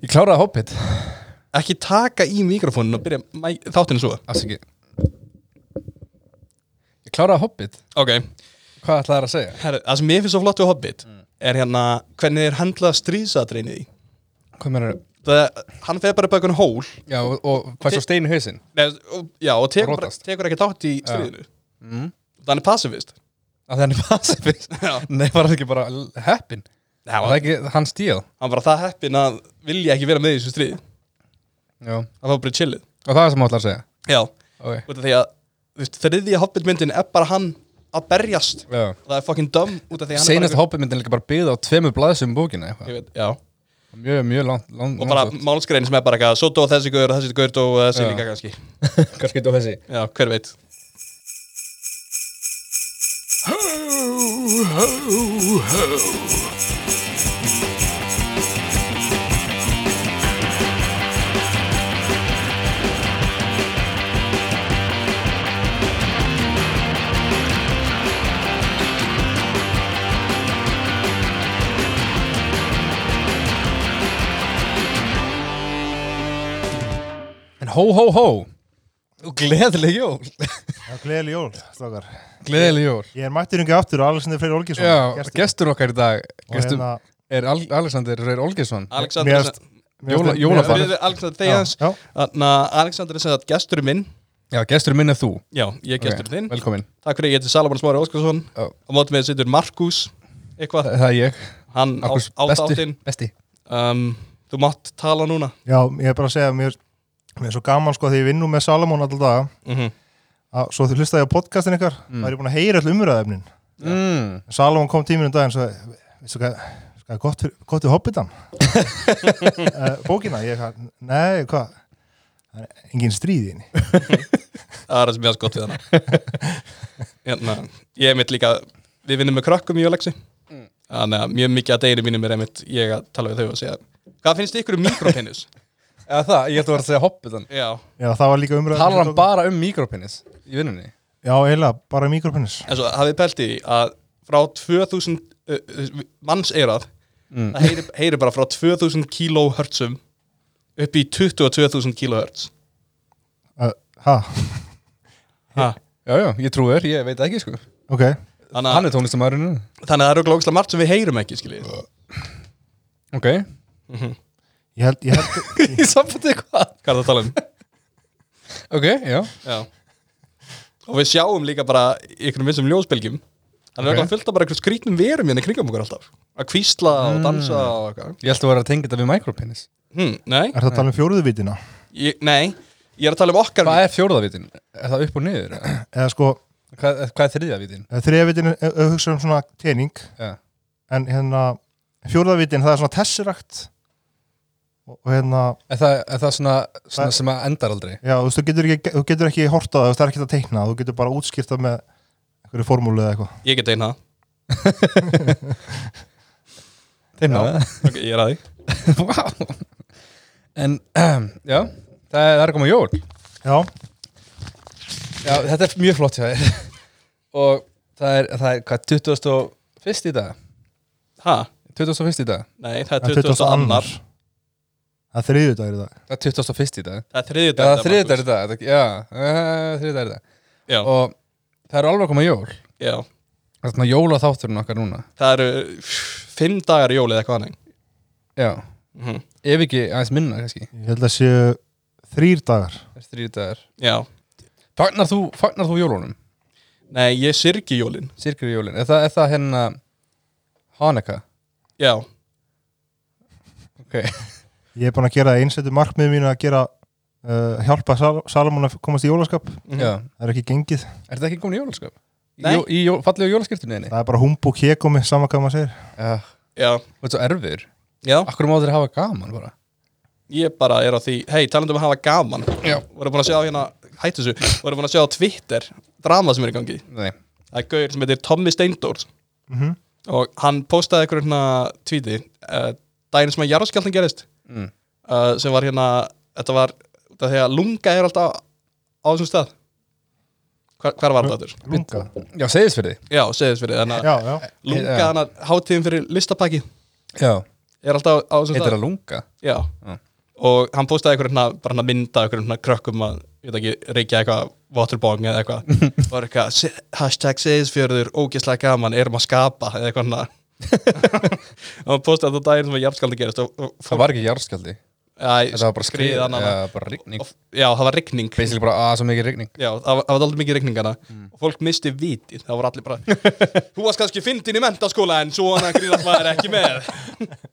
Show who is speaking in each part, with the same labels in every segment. Speaker 1: Ég kláraði Hobbit
Speaker 2: Ekki taka í mikrofónin og byrja mæ- þáttinn svo
Speaker 1: Afsaki Ég kláraði Hobbit
Speaker 2: Ok,
Speaker 1: Hvað ætlaði það að segja?
Speaker 2: Her, það sem ég finnst svo flott við Hobbit er hérna hvernig þeir handla stríðsadreinið í
Speaker 1: Hvað meður þau?
Speaker 2: Það, hann feð bara upp á einhvern hól
Speaker 1: Já, og, og hvað svo stein í hausinn?
Speaker 2: Nei, og, já, og tekur, bara,
Speaker 1: Rótast.
Speaker 2: tekur ekki þátt í stríðinu Mm. Þannig passivist
Speaker 1: Að það er passivist
Speaker 2: Já.
Speaker 1: Nei, var það ekki bara heppin?
Speaker 2: Já.
Speaker 1: Var það ekki hans stíl?
Speaker 2: Hann var það heppinn að vilja ekki vera með í þessu stríð
Speaker 1: Já Og
Speaker 2: Það var bara chillið
Speaker 1: það er sem hann ætlaði að segja
Speaker 2: Já,
Speaker 1: Ok
Speaker 2: út af því að þú veist, þriðja Hobbit myndin er bara hann að berjast
Speaker 1: Já
Speaker 2: Það er fucking dumb út af því að hann
Speaker 1: Seinast
Speaker 2: er bara
Speaker 1: Hobbit myndin líka bara byggð á tveimur blaðsum bókina eitthvað.
Speaker 2: Ég veit, Já,
Speaker 1: Mjög, mjög langt, langt
Speaker 2: og bara málskrein sem er bara eitthvað Svo dó þessi gaur, og þessi gaur dó og þessi
Speaker 1: Já.
Speaker 2: líka kannski
Speaker 1: Kannski þú þessi
Speaker 2: Já, hver veit
Speaker 1: En hó, hó, hó Og gleðileg jól
Speaker 3: Já, gleðileg jól, strákar.
Speaker 1: Gleðileg jól
Speaker 3: Ég er mættur yngi aftur og Alexander Freyr Olgesson.
Speaker 1: Já, gestur, okkar í dag gestur,
Speaker 3: Og hérna-
Speaker 1: er Al Alexander Reyr Olgesson
Speaker 2: Alexander
Speaker 3: Mér-
Speaker 1: Jóla- jólafar.
Speaker 2: Við erum Alexander Þegans
Speaker 3: Já, já.
Speaker 2: Þannig að Alexander er sem sagt gestur minn
Speaker 1: Já, gestur minn er þú
Speaker 2: Já, ég er gestur
Speaker 1: Ok,
Speaker 2: þinn
Speaker 1: Velkomin
Speaker 2: Takk fyrir, ég heiti Salomon Smári Óskarsson
Speaker 1: Já.
Speaker 2: Á móti með sittur Markus Eitthvað,
Speaker 1: Það er ég
Speaker 2: hann á
Speaker 1: Akkus besti,
Speaker 2: áttáttin
Speaker 1: besti
Speaker 2: um, Þú mátt tala núna
Speaker 3: já, ég er bara að segja, mér, mér er svo gaman sko því ég vinn nú með Salomon alltaf daga.
Speaker 2: mm
Speaker 3: Að, svo þú hlustaði á podcastin ykkar, mm. það er ég búin að heyra öll umræðefnin.
Speaker 1: mm.
Speaker 3: Salomon kom tíminu um daginn og sagði, veistu hvað, hvað er gott, fyrir- gott við hobbitan? uh, bókina, ég hvað, nei, hvað, það er engin stríð í henni.
Speaker 2: Það er það sem ég að gott við hana hérna, Ég er mitt líka Við vinnum með krökkum í Alexi Þannig að mjög mikið að deginu mínum er einmitt Ég að tala við þau og segja Hvað finnst ykkur um mikropenis?
Speaker 1: Eða það, ég ætla að vera að segja hoppitan
Speaker 2: Já,
Speaker 3: Já, það var líka umræðefnin.
Speaker 1: Talar hann bara um mikropenis í vinnunni
Speaker 3: Já, eiginlega, bara mikropenis.
Speaker 2: en svo hafið pælt í því að Frá 2000 uh, uh, manns eirað Það heyri, heyri bara frá 2000 kilohertzum upp í 22.000 kilohertz
Speaker 3: Uh, ha,
Speaker 2: Ha,
Speaker 1: Já, já, ég trúi þér, ég veit ekki sko
Speaker 3: ok,
Speaker 2: Þannig
Speaker 1: Hann
Speaker 2: að,
Speaker 1: er tónlistamæðurinn
Speaker 2: þannig að það eru glókslega margt sem við heyrum ekki skiljið
Speaker 1: Ok
Speaker 3: ég held, ég held,
Speaker 1: Í samfætti hvað?
Speaker 2: Hvað er það að tala um?
Speaker 1: Ok, já
Speaker 2: Já. Og við sjáum líka bara í einhvern vissum ljósbylgjum Þannig okay.
Speaker 1: Ok.
Speaker 2: að fylgta bara einhvern skrýtnum verum hérna kringum okkur alltaf Að kvísla og dansa og eitthvað
Speaker 1: Ég ætla að vera að tengja þetta við mikropenis
Speaker 2: hm, Nei,
Speaker 3: er það að tala um fjóruðuvítina?
Speaker 2: ég, nei, ég er að tala um okkar
Speaker 1: Hvað er fjórðavitin? Er það upp og niður? eða?
Speaker 3: Eða sko,
Speaker 1: Hvað, hvað er þriðavitin?
Speaker 3: þriðavitin er að hugsa um svona tjening
Speaker 1: Já,
Speaker 3: en hérna fjórðavitin það er svona tesserakt og, og hérna,
Speaker 1: er það, er það svona,
Speaker 3: Það-
Speaker 1: svona sem að endar aldrei?
Speaker 3: já þú veist, þú getur ekki þú getur ekki hortað, það er ekki að teikna þú getur bara útskýrtað með einhverju formúlu eða eitthvað
Speaker 2: Ég get einn það,
Speaker 1: Þeimna það
Speaker 2: okay, ég er að því
Speaker 1: Vá En, já, það er, það er að koma jól
Speaker 3: Já,
Speaker 1: Já, þetta er mjög flott hjá þér Og það er, það er hvað, 21. í dag?
Speaker 2: Ha,
Speaker 1: 21. í dag?
Speaker 2: nei, það
Speaker 3: það
Speaker 2: er
Speaker 3: er
Speaker 2: 20.
Speaker 3: 22
Speaker 2: annar
Speaker 3: Það er þriðjudagur í dag
Speaker 1: Það er 21. í dag
Speaker 2: Það er þriðið
Speaker 1: Já, það er þriðið dag í dag, þetta- já, þriðið dag í dag
Speaker 2: Já,
Speaker 1: Og það eru alveg að koma jól
Speaker 2: já,
Speaker 1: Það er svona jólaþátturinn okkar núna
Speaker 2: það eru pff, fimm dagar í jólið eitthvað hannig
Speaker 1: Já,
Speaker 2: mm
Speaker 1: ef ekki aðeins minna kannski
Speaker 3: Ég held að séu þrýr dagar
Speaker 1: Það er þriðið dagar
Speaker 2: Já,
Speaker 1: Fagnar þú, fagnar þú jólunum?
Speaker 2: nei, ég syrgi jólin
Speaker 1: Sirkur jólin, er það, er það hérna Haneka?
Speaker 2: Já,
Speaker 1: Ok
Speaker 3: Ég er búin að gera einsettu markmið mínu að gera uh, hjálpa Sal Salomon að komast í jólaskap það
Speaker 2: Mhm.
Speaker 1: Já,
Speaker 3: er ekki gengið,
Speaker 1: er það ekki komin í jólaskap? Í,
Speaker 2: Nei.
Speaker 1: jó- í jó, fallegu jólaskiptinu einni?
Speaker 3: það er bara humbúk hekomi saman hvað maður segir
Speaker 1: Já,
Speaker 2: já,
Speaker 1: þú ert svo erfur
Speaker 2: já
Speaker 1: Akkur má þeir hafa gaman bara
Speaker 2: Ég bara er á því, hei, talandum um að hafa gaman
Speaker 1: Já.
Speaker 2: voru búin að sjá hérna, hættu þessu voru búin að sjá á Twitter, drama sem er í gangi
Speaker 1: Nei,
Speaker 2: það er gauður sem heitir Tommy Steindors
Speaker 3: mm -hmm.
Speaker 2: og hann postaði einhver hérna tvíti uh, daginn sem að jarðskjaldin gerist
Speaker 1: Mm.
Speaker 2: uh, sem var hérna þetta var, þetta þegar lunga er alltaf á, á þessum stað Hvar, hvar var þetta þurr?
Speaker 3: Lunga
Speaker 1: já, segðis fyrir
Speaker 2: Já, segðis fyrir þannig að
Speaker 3: Já, já
Speaker 2: lunga hann að hátíðin fyrir listapakki
Speaker 1: því Já,
Speaker 2: er alltaf á þessum
Speaker 1: Heitir
Speaker 2: stað
Speaker 1: það lunga?
Speaker 2: Já.
Speaker 1: Já.
Speaker 2: og hann postaði einhver hérna, bara hann að mynda einhver hérna krökkum að, ég veit ekki, reykja eitthvað waterbong eða eitthvað, var eitthvað "Se- hashtag segisfjörður, ógeðslega gaman erum að skapa, eða eitthvað hann og hann postaði þetta daginn sem að jarðskaldi gerist og, og
Speaker 1: Það var ekki jarðskjaldi
Speaker 2: Æ,
Speaker 1: Þetta var bara skrið
Speaker 2: skriðan hana.
Speaker 1: Já, bara rigning
Speaker 2: Og- Já, það var rigning
Speaker 1: Basically bara að svo mikið rigning
Speaker 2: Já, það var, það var aldrei mikið rigningana og fólk misti vitið, það voru allir bara Þú varst kannski fyndin í mentaskóla en svo hann að gríðast maður ekki með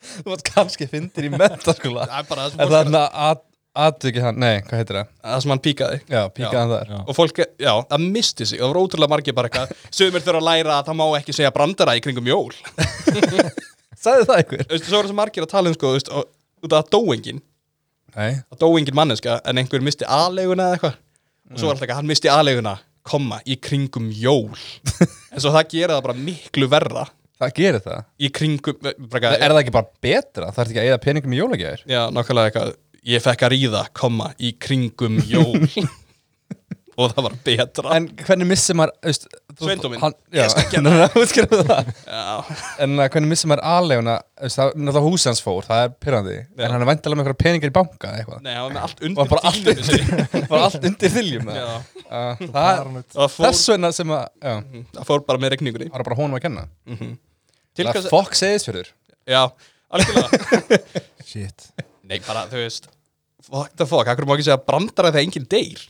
Speaker 1: Þú varst kannski fyndir í mentaskóla
Speaker 2: Það er bara það sem,
Speaker 1: En
Speaker 2: fólk,
Speaker 1: þannig að aðtöki hann, nei, hvað heitir það?
Speaker 2: það sem hann píkaði
Speaker 1: Já, píkaðan þar
Speaker 3: Já.
Speaker 2: og fólk, já, það misti sig, það voru ótrúlega margir bara eitthvað Sumir þurfa að læra að það má ekki segja brandara í kringum jól Þú
Speaker 1: Sæði það ykkur?
Speaker 2: veist, svo voru þessi margir að tala um sko, þú veist, og- út af dóingin
Speaker 1: Nei,
Speaker 2: að dóingin manneska en einhver misti aðleguna eða eitthvað og svo var alltaf eitthvað, hann misti aðleguna komma, í kringum jól en svo það gera það bara miklu verra
Speaker 1: það gerir það
Speaker 2: í kringum eh, bara,
Speaker 1: Er það ekki bara betra? Það er ekki að eða peningum í jólagjær
Speaker 2: Já, nákvæmlega eitthvað Ég fekk að ríða, komma, í kringum jól Og það var betra
Speaker 1: En hvernig missir maður þú veist, þú-
Speaker 2: Sveindóminn.
Speaker 1: hann- Já,
Speaker 2: Ég skal
Speaker 1: hann er að útskrifa það
Speaker 2: Já,
Speaker 1: En uh, hvernig missir maður aðleguna þú veist, Það er náttúrulega hús hans fór, það er pyrrandi
Speaker 2: Já.
Speaker 1: En hann er væntalega með eitthvað peningar í banka eða eitthvað
Speaker 2: nei, það var með allt
Speaker 1: Og hann bara allt
Speaker 2: undir
Speaker 1: undir Bara allt undir þiljum
Speaker 2: Já,
Speaker 1: uh,
Speaker 3: Bara
Speaker 1: Það
Speaker 3: hann út.
Speaker 2: það fór, Mhm.
Speaker 1: Þess vegna sem að, já,
Speaker 2: það fór bara með regningunni
Speaker 1: það er bara honum að kenna
Speaker 2: Til
Speaker 1: Það
Speaker 2: hvers
Speaker 1: fokk segist fyrir
Speaker 2: Já, algjörlega
Speaker 3: Shit.
Speaker 2: Nei, bara, þú veist Fuck the fuck, akkur má ekki segja brandara þegar enginn deyr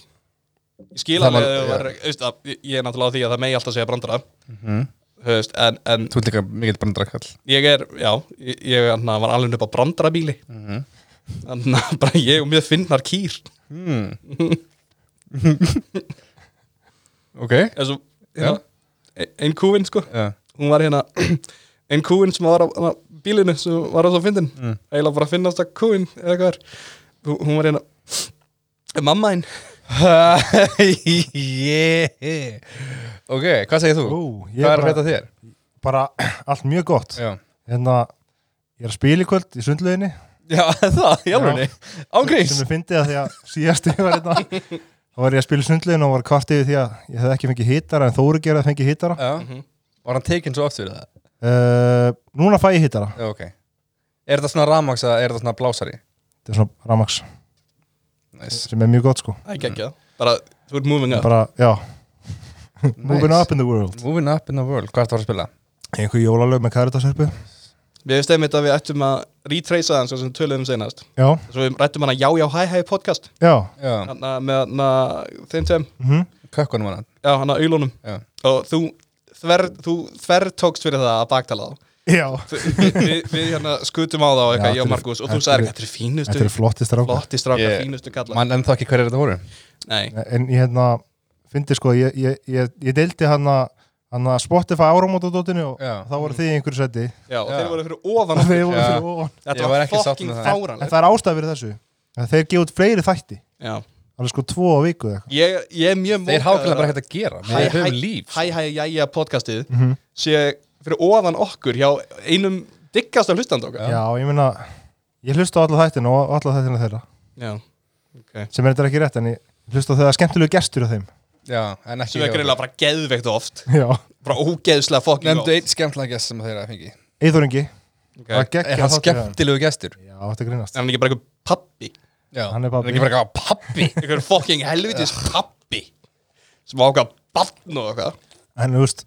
Speaker 2: Ég skil
Speaker 1: Það var-
Speaker 2: alveg að það var,
Speaker 1: já.
Speaker 2: veist, að, ég- Ég er náttúrulega á því að það megi alltaf segja brandara Þú veist, en, en
Speaker 1: Þú ert líka mikill brandrakall
Speaker 2: ég er, já Ég, ég anna, var alveg upp á brandarabíli Þannig að bara ég og mér finnar kýr
Speaker 1: Ok
Speaker 2: En svo,
Speaker 1: Já.
Speaker 2: hérna, ein- ein kúin sko
Speaker 1: Já.
Speaker 2: hún var hérna ein kúin sem var á, á bílinu sem var á svo fyndin mm. eiginlega bara að finnast að kúin eða hvað er Hú- hún var hérna mamma hinn
Speaker 1: yeah. Ok, hvað segir þú?
Speaker 3: Ú,
Speaker 1: hvað er
Speaker 3: ég
Speaker 1: að
Speaker 3: bara-
Speaker 1: hræta þér?
Speaker 3: Bara allt mjög gott.
Speaker 1: Já,
Speaker 3: Hérna, ég er að spila í kvöld í sundlöginni.
Speaker 1: já það, jálfunni Ángríns
Speaker 3: sem ég fyndi að því að síðast ég var hérna þá var ég að spila í sundlegin og var kvart yfir því að ég hef ekki fengið hittara en Þóri gerði að fengi hittara
Speaker 1: Já. Var hann tekinn svo oft fyrir það?
Speaker 3: uh, núna fæ ég hittara,
Speaker 1: Já, ok Er þetta svona ramaks eða er þetta svona blásari?
Speaker 3: þetta er svona ramax
Speaker 1: Nice.
Speaker 3: sem er mjög gott sko,
Speaker 2: ekki ekki það Mm. bara þú ert moving up
Speaker 3: bara, já moving up in the world
Speaker 1: Moving up in the world, hvað er það að spila?
Speaker 3: einhver jólalög með karitasörpu
Speaker 2: við hefum stemmit að við ættum að retrace þann sem töluðum senast
Speaker 3: já,
Speaker 2: svo við rættum hana já já hæ hæ podcast
Speaker 3: já,
Speaker 1: Já,
Speaker 2: hana, með hana þeim tveim
Speaker 3: mhm,
Speaker 1: kökkunum hann
Speaker 2: já hana auðlunum
Speaker 1: Já.
Speaker 2: og þú þver, þú þver tókst fyrir það að baktala þá
Speaker 3: já
Speaker 2: við, við, við hérna skutum á það og
Speaker 3: Já,
Speaker 2: eitthvað, ég og
Speaker 3: þetta er-
Speaker 2: Markus og þú
Speaker 3: þetta
Speaker 2: sagði
Speaker 3: er-
Speaker 2: þetta er fínustu,
Speaker 3: þetta eru flotti strákar
Speaker 2: flotti strákar,
Speaker 1: Ég-
Speaker 2: fínustu kallar
Speaker 1: Man ennþá ekki hverju þetta voru
Speaker 2: Nei,
Speaker 3: en ég hérna, fyndi sko ég, ég, ég, ég deildi hann að hann að Spotify áramótadótinu og
Speaker 1: Já.
Speaker 3: þá voru þið í einhverju seti
Speaker 2: já, og
Speaker 1: Já.
Speaker 2: þeir voru fyrir ofan
Speaker 3: Þið
Speaker 2: okkur
Speaker 3: voru
Speaker 1: Já.
Speaker 3: fyrir ofan.
Speaker 1: Ég
Speaker 2: Þetta
Speaker 1: var
Speaker 2: var
Speaker 1: ekki sátt
Speaker 2: fucking
Speaker 1: með það.
Speaker 3: en
Speaker 2: fáranlegt
Speaker 3: það er ástæð fyrir þessu að þeir gefa út fleiri þætti
Speaker 2: Já.
Speaker 3: alveg sko tvo á viku eða eitthvað
Speaker 2: ég, ég er mjög
Speaker 1: Þeir hafa ekki bara hægt að gera Við höfum líf sko.
Speaker 2: Hæ, hæ, hæ, hæ, podcastið
Speaker 3: Mhm.
Speaker 2: sé fyrir ofan okkur hjá einum diggasta hlustand okkar
Speaker 3: já, ég meina, ég hlusta á alla þættina og alla þættina þeirra,
Speaker 2: Já. Okay.
Speaker 3: sem er þetta ekki rétt en ég hlusta á þegar skemmtilegu gestur á þeim
Speaker 1: Já, en ekki
Speaker 2: sem er greiðlega bara geðveikt oft
Speaker 3: já,
Speaker 2: bara ógeðslega fucking
Speaker 1: Nefndu
Speaker 2: oft
Speaker 1: einn skemmtilega gest sem þeir að fengi
Speaker 3: Eithöringi
Speaker 2: okay.
Speaker 3: það
Speaker 1: Er
Speaker 3: geggja
Speaker 1: Eh, hann skemmtilegu gestur?
Speaker 3: já, þetta grínast
Speaker 2: en hann er ekki bara einhver pappi
Speaker 1: Já,
Speaker 3: Hann er pabbi.
Speaker 1: ekki bara eitthvað pappi
Speaker 2: einhver fucking helvitis pappi sem ákvað barn og eitthvað
Speaker 3: en þú veist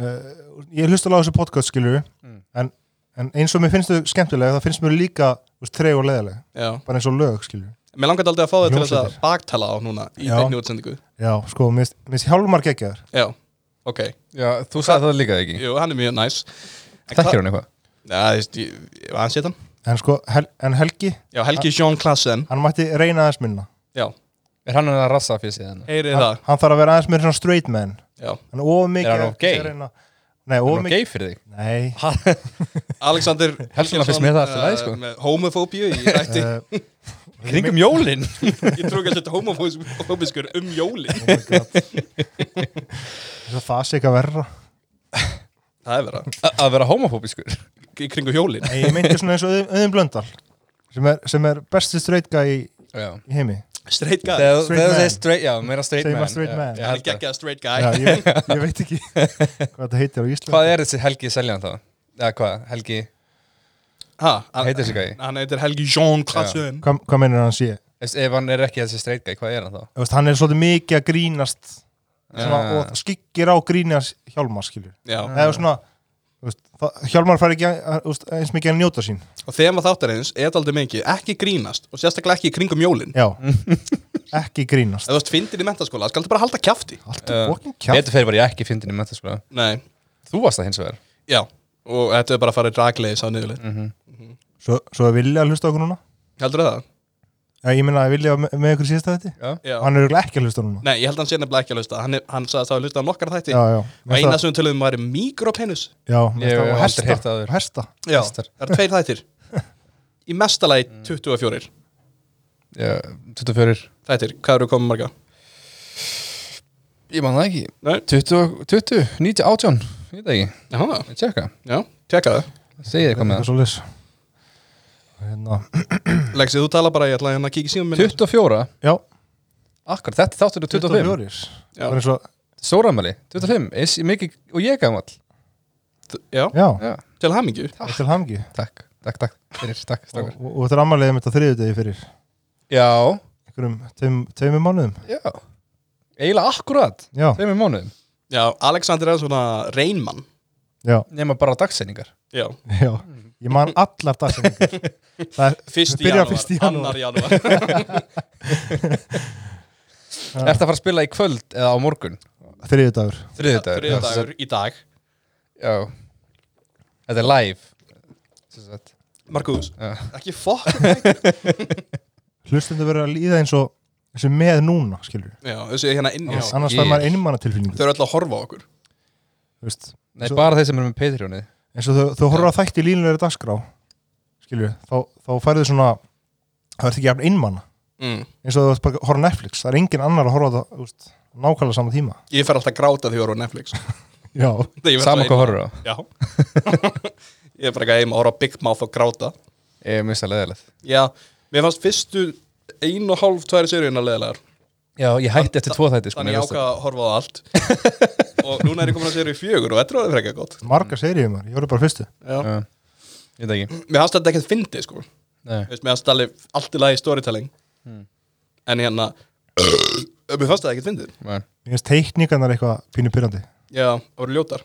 Speaker 3: uh, ég hlusta alveg á þessu podcast skilur
Speaker 1: Mm.
Speaker 3: en, en eins og mér finnst þau skemmtilega þá finnst mér líka þú veist, treg og leðileg,
Speaker 2: Já.
Speaker 3: bara eins og lög skilur
Speaker 2: Mér langar aldrei að fá þau til þess að
Speaker 3: Hljómsveitir.
Speaker 2: baktala á núna í
Speaker 3: Já.
Speaker 2: beinni útsendingu
Speaker 3: já, sko, mér finnst- mér finnst hjálmar geggjaður
Speaker 2: Já, ok,
Speaker 1: Já, þú sagði það líka ekki
Speaker 2: jú, hann er mjög næs
Speaker 1: Þekkir hann eitthvað?
Speaker 2: Já, þú veist, ég- ég- hann sé hann
Speaker 3: en sko, hel, en Helgi,
Speaker 2: Já, Helgi Sjón Klassen
Speaker 3: hann mætti reyna aðeins minna
Speaker 2: Já,
Speaker 1: Er hann að rassa fyrir sig þannig?
Speaker 2: heyrið
Speaker 3: hann,
Speaker 2: það
Speaker 3: hann þarf að vera aðeins meira svona straight man
Speaker 2: Já.
Speaker 3: hann er of mikið
Speaker 1: Er hann of gay?
Speaker 3: að reyna- nei,
Speaker 1: Er
Speaker 3: of
Speaker 1: hann
Speaker 3: mikið
Speaker 1: gei fyrir þig?
Speaker 3: nei,
Speaker 2: Alexander
Speaker 1: Helgi finnst mér það allt í lagi, sko.
Speaker 2: eh, með homofóbíu í rætti
Speaker 3: uh,
Speaker 1: Kringum jólin?
Speaker 2: Ég trú ekki að þetta homofóbiskur um jóli
Speaker 3: oh þess að það sé ekki að verra
Speaker 2: Það er vera,
Speaker 1: Að vera homofóbiskur?
Speaker 2: í kringu jólin
Speaker 3: nei, ég meinti svona eins og Auðun- auðun blöndal sem er, sem er besti straight guy í,
Speaker 1: Já
Speaker 3: í heimi
Speaker 2: Straight guy
Speaker 1: Þegar þegar
Speaker 3: Straight
Speaker 1: þú
Speaker 3: man.
Speaker 1: segir straight, já, meira straight
Speaker 3: Segir
Speaker 1: man
Speaker 3: maður straight
Speaker 1: já,
Speaker 3: man.
Speaker 1: ég
Speaker 2: Hann er
Speaker 1: held það.
Speaker 2: geggjað straight
Speaker 3: Já,
Speaker 2: guy
Speaker 3: ég, veit, ég veit ekki hvað þetta heitir á Íslandi
Speaker 1: Hvað er þessi Helgi Seljan þá? Já, hvað, Helgi?
Speaker 2: Ha,
Speaker 1: Hvað heitir þessi gæi?
Speaker 2: Hann heitir Helgi Jón Klatsson
Speaker 3: Hvað, hvað meinir hann sé?
Speaker 1: Ef ef hann er ekki þessi straight guy, hvað er hann þá?
Speaker 3: Þú Veist, hann er svolítið mikið að grínast svona,
Speaker 1: Ja.
Speaker 3: og skyggir á grínast hjálmar skilur.
Speaker 2: Já,
Speaker 3: Eða svona, þú veist, það, hjálmar fær ekki að, að, þú veist, eins mikið að njóta sín.
Speaker 2: og þema þáttarins er aldrei mikið, ekki grínast og sérstaklega ekki í kringum jólin
Speaker 3: Já, ekki grínast.
Speaker 2: Ef þú ert fyndir í mentaskóla, skaldu bara halda kjafti
Speaker 3: Allt
Speaker 1: Já.
Speaker 3: er fokkin kjátt.
Speaker 1: Betur fyrir var ég ekki fyndin í mentaskóla
Speaker 2: Nei,
Speaker 1: Þú varst það hins vegar
Speaker 2: já, og þetta er bara að fara raglegis á niðurleið
Speaker 1: Mhm.
Speaker 3: Svo, svo er Vilja að hlusta á okkur núna.
Speaker 2: Heldur það?
Speaker 3: Já, ég minna að Vilja var með, með ykkur síðasta þetta.
Speaker 2: Já.
Speaker 3: Hann er örugglega ekki að hlusta núna.
Speaker 2: Nei, ég held að hann sé nefnilega ekki að hlusta Hann, er- hann sagðist að hafa hlusta á nokkar þætti
Speaker 3: Já, já.
Speaker 2: og eina sem við töluðum um væri mikropenis
Speaker 3: Já,
Speaker 1: Ég
Speaker 3: mér finnst
Speaker 1: hef
Speaker 3: það- og
Speaker 1: aldrei
Speaker 3: hesta.
Speaker 1: heyrt það áður.
Speaker 3: Og hesta.
Speaker 2: Já,
Speaker 1: Hestar.
Speaker 2: það eru tveir þættir Í mestalagi 24
Speaker 1: Já, 24
Speaker 2: þættir, hvað eru komið marga?
Speaker 1: Ég man það ekki
Speaker 2: Nei.
Speaker 1: 20, 20, 90, 18 Ég veit það ekki,
Speaker 2: Já,
Speaker 1: ég tjekka
Speaker 2: já, tjekka það
Speaker 1: Segið eitthvað með það
Speaker 3: Eitthvað svoleiðis. Og Hérna,
Speaker 2: Lexi, þú tala bara, ég ætla að hérna að kíkja síðan
Speaker 1: 24,
Speaker 3: já,
Speaker 1: akkur, þetta þáttur er 25
Speaker 2: Já.
Speaker 3: 24. Það er eins og,
Speaker 1: Sóramæli, 25, is, mikið, og ég gamall
Speaker 2: Já,
Speaker 3: já,
Speaker 1: Já,
Speaker 2: til hamingju
Speaker 3: þetta er til hamgi.
Speaker 1: takk, takk, takk, fyrir, takk,
Speaker 3: Og,
Speaker 1: stakkar
Speaker 3: og, og þetta er ammaliðið mitt á þriðjudegi fyrir
Speaker 1: Já,
Speaker 3: einhverjum tveim, tveimur mánuðum.
Speaker 1: já Eiginlega akkurat,
Speaker 3: Já,
Speaker 1: þeim er mánuðum
Speaker 2: Já, Alexander er svona reynmann
Speaker 3: já,
Speaker 1: Nefna bara dagsendingar
Speaker 2: Já,
Speaker 3: já. Ég man allar dagsenningar. Það er,
Speaker 2: fyrst í
Speaker 3: Byrjar
Speaker 2: janúar,
Speaker 3: fyrst í janúar.
Speaker 2: annar
Speaker 1: ja.
Speaker 2: janúar
Speaker 1: Ertu að fara að spila í kvöld eða á morgun?
Speaker 3: þriðjudagur.
Speaker 1: Þriðjudagur
Speaker 2: Þriðdagur í dag
Speaker 1: Já Þetta er live Sem sagt.
Speaker 2: Markus,
Speaker 1: Já.
Speaker 2: ekki fokk
Speaker 3: Hlustundu verður að líða eins og eins og með núna, skilur.
Speaker 2: Já, þessu er hérna inn í
Speaker 3: Annars,
Speaker 2: á
Speaker 3: annars
Speaker 1: ég-
Speaker 3: fær maður einmanna tilfinningu.
Speaker 2: Þau eru öll að horfa á okkur
Speaker 3: Veist,
Speaker 1: Nei,
Speaker 3: Svo-
Speaker 1: bara þeir sem eru með Patreonið
Speaker 3: eins og þau, þau horfður að þætti línulegri dagskrá, skilur. Þá, þá færðu svona, það verður ekki jafn einmanna.
Speaker 2: mm.
Speaker 3: eins og þú ert bara að horfa á Netflix það er engin annar að horfa á það úst, nákvæmlega sama tíma
Speaker 2: Ég fer alltaf að gráta því að horfa á Netflix
Speaker 3: já,
Speaker 2: Þegar ég verð
Speaker 1: Sama
Speaker 2: alltaf
Speaker 1: hvað
Speaker 2: ein-
Speaker 1: horfur á
Speaker 2: Já Ég er bara ekki heim að horfa á Big Mouth og gráta
Speaker 1: Ég minnst það leðilegt
Speaker 2: Já, mér fannst fyrstu ein og hálf tværi seríuna leðilegar
Speaker 1: Já, ég hætti eftir tvo þætti sko,
Speaker 2: Þannig
Speaker 1: mér
Speaker 2: ég
Speaker 1: finnst
Speaker 2: ákvað að horfa á allt Og núna er ég komin að seríu fjögur og þetta er alveg frekar gott
Speaker 3: marga seriðum þar, ég horfði bara fyrstu
Speaker 2: Já.
Speaker 1: það- Já. Ég veit ekki
Speaker 2: Mér fannst þetta ekkert fyndið sko
Speaker 1: Nei.
Speaker 2: Veist, Mér fannst alveg allt í lagi storytelling
Speaker 1: Hmm.
Speaker 2: En hérna Mér fannst þetta ekkert fyndið
Speaker 1: Nei.
Speaker 3: ég finnst teikningarnar eitthvað pínu pyrrandi
Speaker 2: Já, það voru ljótar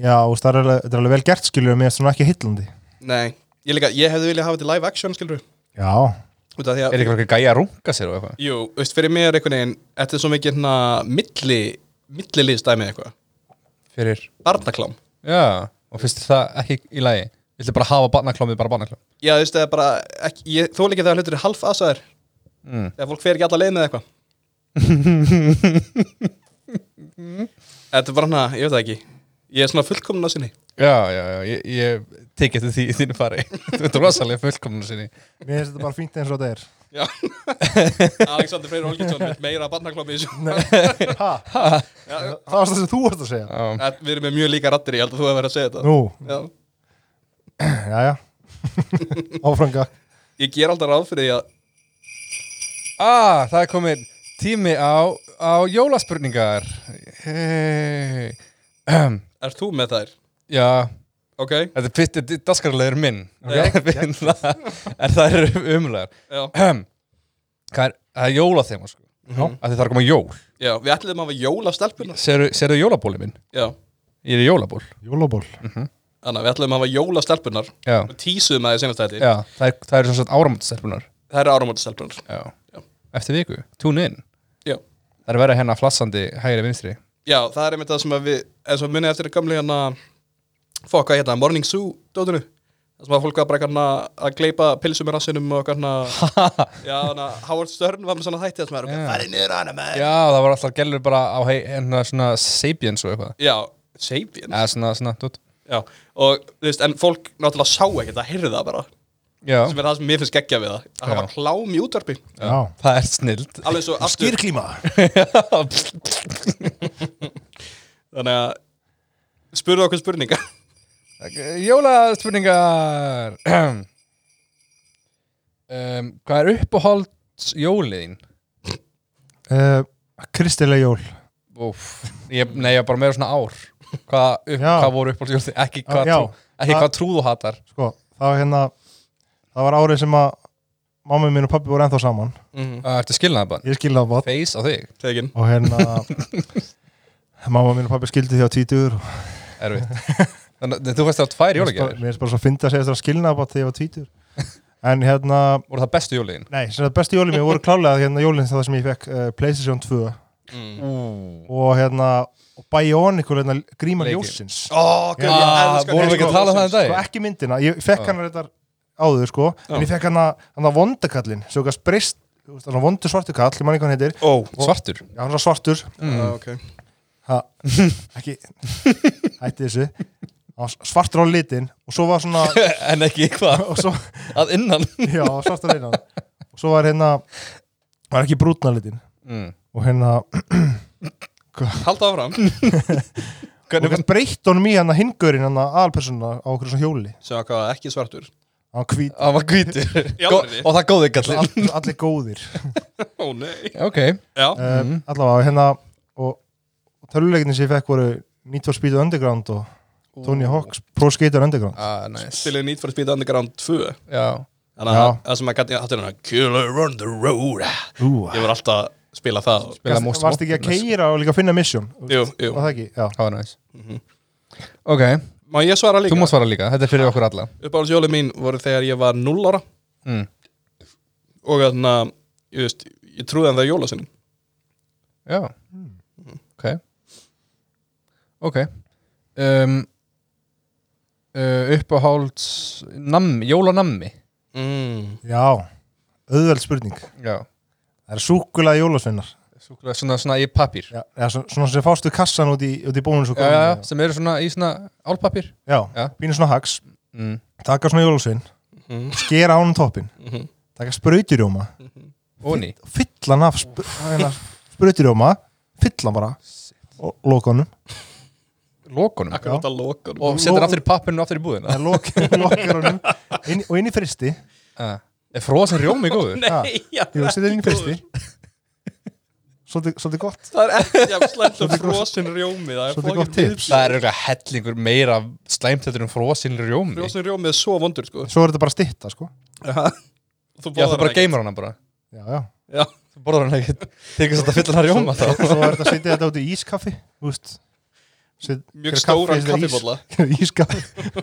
Speaker 3: já, úst, það er alveg, þetta er alveg vel gert skilur mér finnst svona ekki hillandi
Speaker 2: Nei, ég, líka, ég hefði viljað hafa þetta í live action skilur
Speaker 3: já,
Speaker 2: Út af því
Speaker 1: Er
Speaker 2: að
Speaker 1: eitthvað gæja að runga sér og eitthvað?
Speaker 2: Jú, veist, fyrir mér einhvern veginn Þetta er svo mikið hérna milli milliliðstæmi eitthvað
Speaker 1: Fyrir
Speaker 2: Barnaklám
Speaker 1: Já, og finnst þér það ekki í lagi Viltu bara hafa barnaklámið bara barnaklám
Speaker 2: Já, þú veist, það er bara ekki, ég, Þú líka þegar hlutur er half aðsæðir
Speaker 1: Mm.
Speaker 2: Þegar fólk fer ekki alla leið með eitthvað Þetta er bara hana, ég veit það ekki Ég er svona fullkomna sinni
Speaker 1: Já, já, já, ég, ég tek eftir því í þínu fari Þú ert rosalega fullkomna sinni
Speaker 3: mér finnst þetta bara fínt eins og þetta er
Speaker 2: Já Alexander Freyr Olgjesson vill meira barnaklámi í þessu
Speaker 3: ha, það var það sem þú varst að segja
Speaker 1: Já,
Speaker 2: En Við erum með mjög líka rattir, ég held að þú hefur verið að segja þetta
Speaker 3: nú,
Speaker 2: Já.
Speaker 3: já, já áfranga
Speaker 2: Ég ger alltaf ráð fyrir því að
Speaker 1: ah, það er komin tími á, á jólaspurningar hey.
Speaker 2: Ert þú með þær?
Speaker 1: Já,
Speaker 2: Ok,
Speaker 1: þetta er pittir daskarlegur minn
Speaker 2: Já.
Speaker 1: En það eru umlegar
Speaker 2: já
Speaker 1: Það er, það er jólaþema sko
Speaker 2: Já.
Speaker 1: Af því Það er að koma jól
Speaker 2: Já, við ætlum að hafa jól af stelpuna
Speaker 1: Serðu jólabóli minn?
Speaker 2: Já,
Speaker 1: Ég er í jólaból
Speaker 3: jólaból,
Speaker 2: þannig að við ætlum að hafa jól af stelpunar
Speaker 1: Já,
Speaker 2: og tísuðum að því senast þetta
Speaker 1: já það er- það eru sem sagt áramáttastelpunar
Speaker 2: Það eru áramóti stelpunar
Speaker 1: Já.
Speaker 2: Já.
Speaker 1: Eftir viku, tune in
Speaker 2: Já.
Speaker 1: Það er verið hérna flassandi hægri vinstri
Speaker 2: Já, það er einmitt það sem að við eins og munið eftir að gamli hérna fokk hvað hérna, Morning Zoo dótinu það sem að fólk var bara hérna að gleipa pilsum í rassinum og hérna Já, hérna, Howard Stern var með svona þætti það sem er
Speaker 1: Já.
Speaker 2: yeah. farið niður á hana með
Speaker 1: Já, það var alltaf gælur bara á hei, hérna svona Sabians og eitthvað
Speaker 2: Já, Sabian
Speaker 1: Eða svona, svona, dút
Speaker 2: Já, og þú veist, en fólk náttúrulega sá ekki það, heyrði það bara
Speaker 1: Já,
Speaker 2: sem er það sem mér finnst geggja við það að hafa
Speaker 1: Já.
Speaker 2: klám í útvarpi
Speaker 3: já,
Speaker 1: það er snild
Speaker 2: Alveg svo aftur
Speaker 3: skýrklíma
Speaker 2: Þannig að spurðu okkur spurninga
Speaker 1: Jólaspurningar um, Hvað er uppáhalds jóliðin?
Speaker 3: uh, kristilega jól
Speaker 1: Úf, ég, nei, ég var bara meira svona ár Hvað, upp,
Speaker 3: Já.
Speaker 1: hvað voru uppáhalds jóliðin? Ekki hvað,
Speaker 3: Já.
Speaker 1: trú, ekki
Speaker 3: Það-
Speaker 1: hvað trú þú hatar
Speaker 3: sko, það var hérna það var árið sem að mamma mín og pappi voru ennþá saman
Speaker 2: -hmm.
Speaker 1: Það Ah, ertu skilnaðabann
Speaker 3: ég skilði á bát
Speaker 1: Face á þig,
Speaker 2: Tegin
Speaker 3: og hérna mamma mín og pappi skildi því á títugur og
Speaker 1: erfitt Þannig að þú veist það tvær
Speaker 3: mér
Speaker 1: jólagjafir
Speaker 3: finnst bara svo fyndi að segja þetta skilnaði bát þegar ég var títugur en hérna,
Speaker 1: Voru það bestu jólin?
Speaker 3: nei, sem það besti jólin mér voru klálega hérna jólin það sem ég fekk uh, Playstation 2
Speaker 2: mm.
Speaker 1: Ú
Speaker 3: og hérna og Bionicle hérna gríma
Speaker 1: Leikir.
Speaker 3: ljósins
Speaker 2: Ó, gæm,
Speaker 1: Ah,
Speaker 2: ég elska
Speaker 1: vorum við ekki að tala um það í dag?
Speaker 3: sko ekki myndina, ég fekk
Speaker 1: Já.
Speaker 3: hann þetta áður sko, en ég fekk hann að vondakallin, svo ekki að sprist hann að vondu svartu kall, ég man ekki hvað hann heitir
Speaker 2: Ó,
Speaker 1: Svartur
Speaker 3: já, hann er svo svartur,
Speaker 2: mm. ok
Speaker 3: ha, ekki hætti þessu Hann var svartur á litin og svo var svona
Speaker 1: En ekki hvað,
Speaker 3: og svo,
Speaker 1: að innan
Speaker 3: já, svartur á litin og svo var hérna var ekki brútna litin
Speaker 1: mm.
Speaker 3: og hérna,
Speaker 2: Halda áfram
Speaker 3: og
Speaker 1: Hvernig
Speaker 3: hérna breytt honum í hérna hingurinn hérna aðalpersona á okkur svona hjóli
Speaker 2: Sem að hvað, ekki svartur
Speaker 3: hann hvít,
Speaker 1: Það Ah, var hvítur
Speaker 2: Í
Speaker 1: Gó-
Speaker 2: alvörunni?
Speaker 1: Og það góði gallin
Speaker 3: all, allir góðir
Speaker 2: Ó, nei
Speaker 1: Ok,
Speaker 2: Já,
Speaker 3: mm allavega hérna og, og töluleginni sem ég fekk voru Need for Speed Underground og Tony Hawk's Pro Skater Underground
Speaker 1: ah, nice
Speaker 2: til ég nýtt fyrir spýta Underground 2
Speaker 1: Já,
Speaker 2: Þannig
Speaker 3: Já.
Speaker 2: að það sem að gæti hattu hérna Killer on the road Ég
Speaker 3: Ú,
Speaker 2: voru alltaf að spila það og-
Speaker 1: Spila
Speaker 3: Gast-
Speaker 1: Most
Speaker 3: varst ekki að
Speaker 1: Wanted,
Speaker 3: keira og líka finna mission
Speaker 2: Jú,
Speaker 3: var
Speaker 2: jú
Speaker 3: það ekki, já
Speaker 1: það var Ah, nice Ok,
Speaker 2: Mhm. Má ég svara
Speaker 1: þú
Speaker 2: líka?
Speaker 1: má svara líka, þetta er fyrir okkur alla
Speaker 2: Uppáhaldsjóli mín voru þegar ég var 0 ára
Speaker 1: mm.
Speaker 2: Og þannig að, ég veist, ég trúði hann það í jólasinni
Speaker 1: Já Ok Ok um, uh, Uppáhalds nammi, Jólanammi
Speaker 2: mm.
Speaker 3: já, auðveld spurning
Speaker 1: Já
Speaker 3: það er súkulega jólasveinar
Speaker 1: Súkulega svona, svona í pappír
Speaker 3: já, eða svo- svona sem fástu kassan út í, út í bónus og
Speaker 1: já, já, já,
Speaker 3: já.
Speaker 1: sem eru svona í svona álpappír
Speaker 3: já,
Speaker 1: Já.
Speaker 3: pínu svona hags
Speaker 1: mm.
Speaker 3: taka svona jólasvein,
Speaker 2: Mm.
Speaker 3: skera ánum toppin
Speaker 2: Mhm.
Speaker 3: taka sprautirjóma
Speaker 1: Óni
Speaker 3: fyllan af sp hérna, sprautirjóma fyllan bara og lokanum
Speaker 1: Lókunum
Speaker 2: Akkur átt að loka
Speaker 1: Og setur aftur í pappirinu og aftur í búðina
Speaker 3: lokar honum inn, og inn í fristi
Speaker 1: Ah. Er frosin rjómi góður?
Speaker 2: Nei, já,
Speaker 3: Jú,
Speaker 2: það
Speaker 3: setja
Speaker 2: er
Speaker 3: inn í
Speaker 2: ekki
Speaker 3: fristi
Speaker 2: góður.
Speaker 3: Svolítið svolítið gott
Speaker 2: Það er ekki að slæmt að frosin rjómi Það er
Speaker 3: Svolítið
Speaker 2: fokkin
Speaker 3: gott tips.
Speaker 2: viðbjóður.
Speaker 1: Það er eitthvað hellingur meira slæmt heldur en frosin rjómi
Speaker 2: Frosin rjómi er svo vondur sko
Speaker 3: Svo er þetta bara stitta, sko
Speaker 1: Já,
Speaker 2: Þú
Speaker 1: þú bara
Speaker 2: hann ekki.
Speaker 1: geymir hana bara
Speaker 3: Já, já
Speaker 2: Já,
Speaker 1: Þú borðar hana ekkert Þegar þetta fyllir hana rjóma þá
Speaker 3: Svo er þetta að setja þetta út í ískaffi Þú veist Set,
Speaker 2: Mjög stóran kaffibólla
Speaker 3: Ískaffi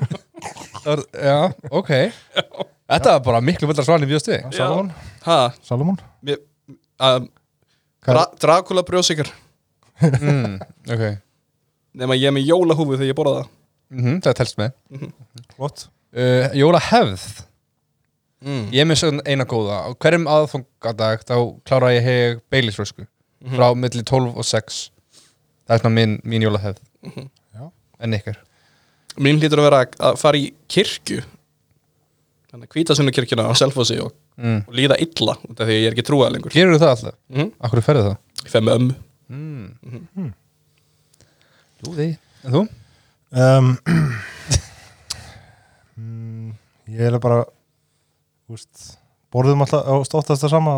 Speaker 1: Það var- Já, ok Þetta var bara miklu völdar svalin við stuði
Speaker 3: Salomon
Speaker 2: Ha,
Speaker 3: Salomon
Speaker 2: mér, um, dra Dracula brjósikar
Speaker 1: mm, Ok
Speaker 2: Nefn að ég er með jólahúfu þegar ég borða það
Speaker 1: mm Það telst með
Speaker 3: Flott
Speaker 1: uh, Jóla hefð
Speaker 2: mm.
Speaker 1: Ég er með svona eina góða Á hverjum aðfungadag þá klára ég heg beilisrösku Frá milli 12 og 6 Það er svona mín, mín jóla hefð
Speaker 3: Já.
Speaker 1: En ykkar
Speaker 2: Mín hlýtur að vera að fara í kirkju Þannig að hvíta sinna kirkjuna á selfossi og,
Speaker 1: mm.
Speaker 2: og líða illa út af því að ég er ekki trúað lengur
Speaker 1: Gerur það alltaf?
Speaker 2: mm.
Speaker 1: Akkur ferðu það?
Speaker 2: Ég fer með ömmu
Speaker 1: Mm. Lúði En þú?
Speaker 3: um, mm, Ég er bara Þú veist Borðum alltaf á stóttast það sama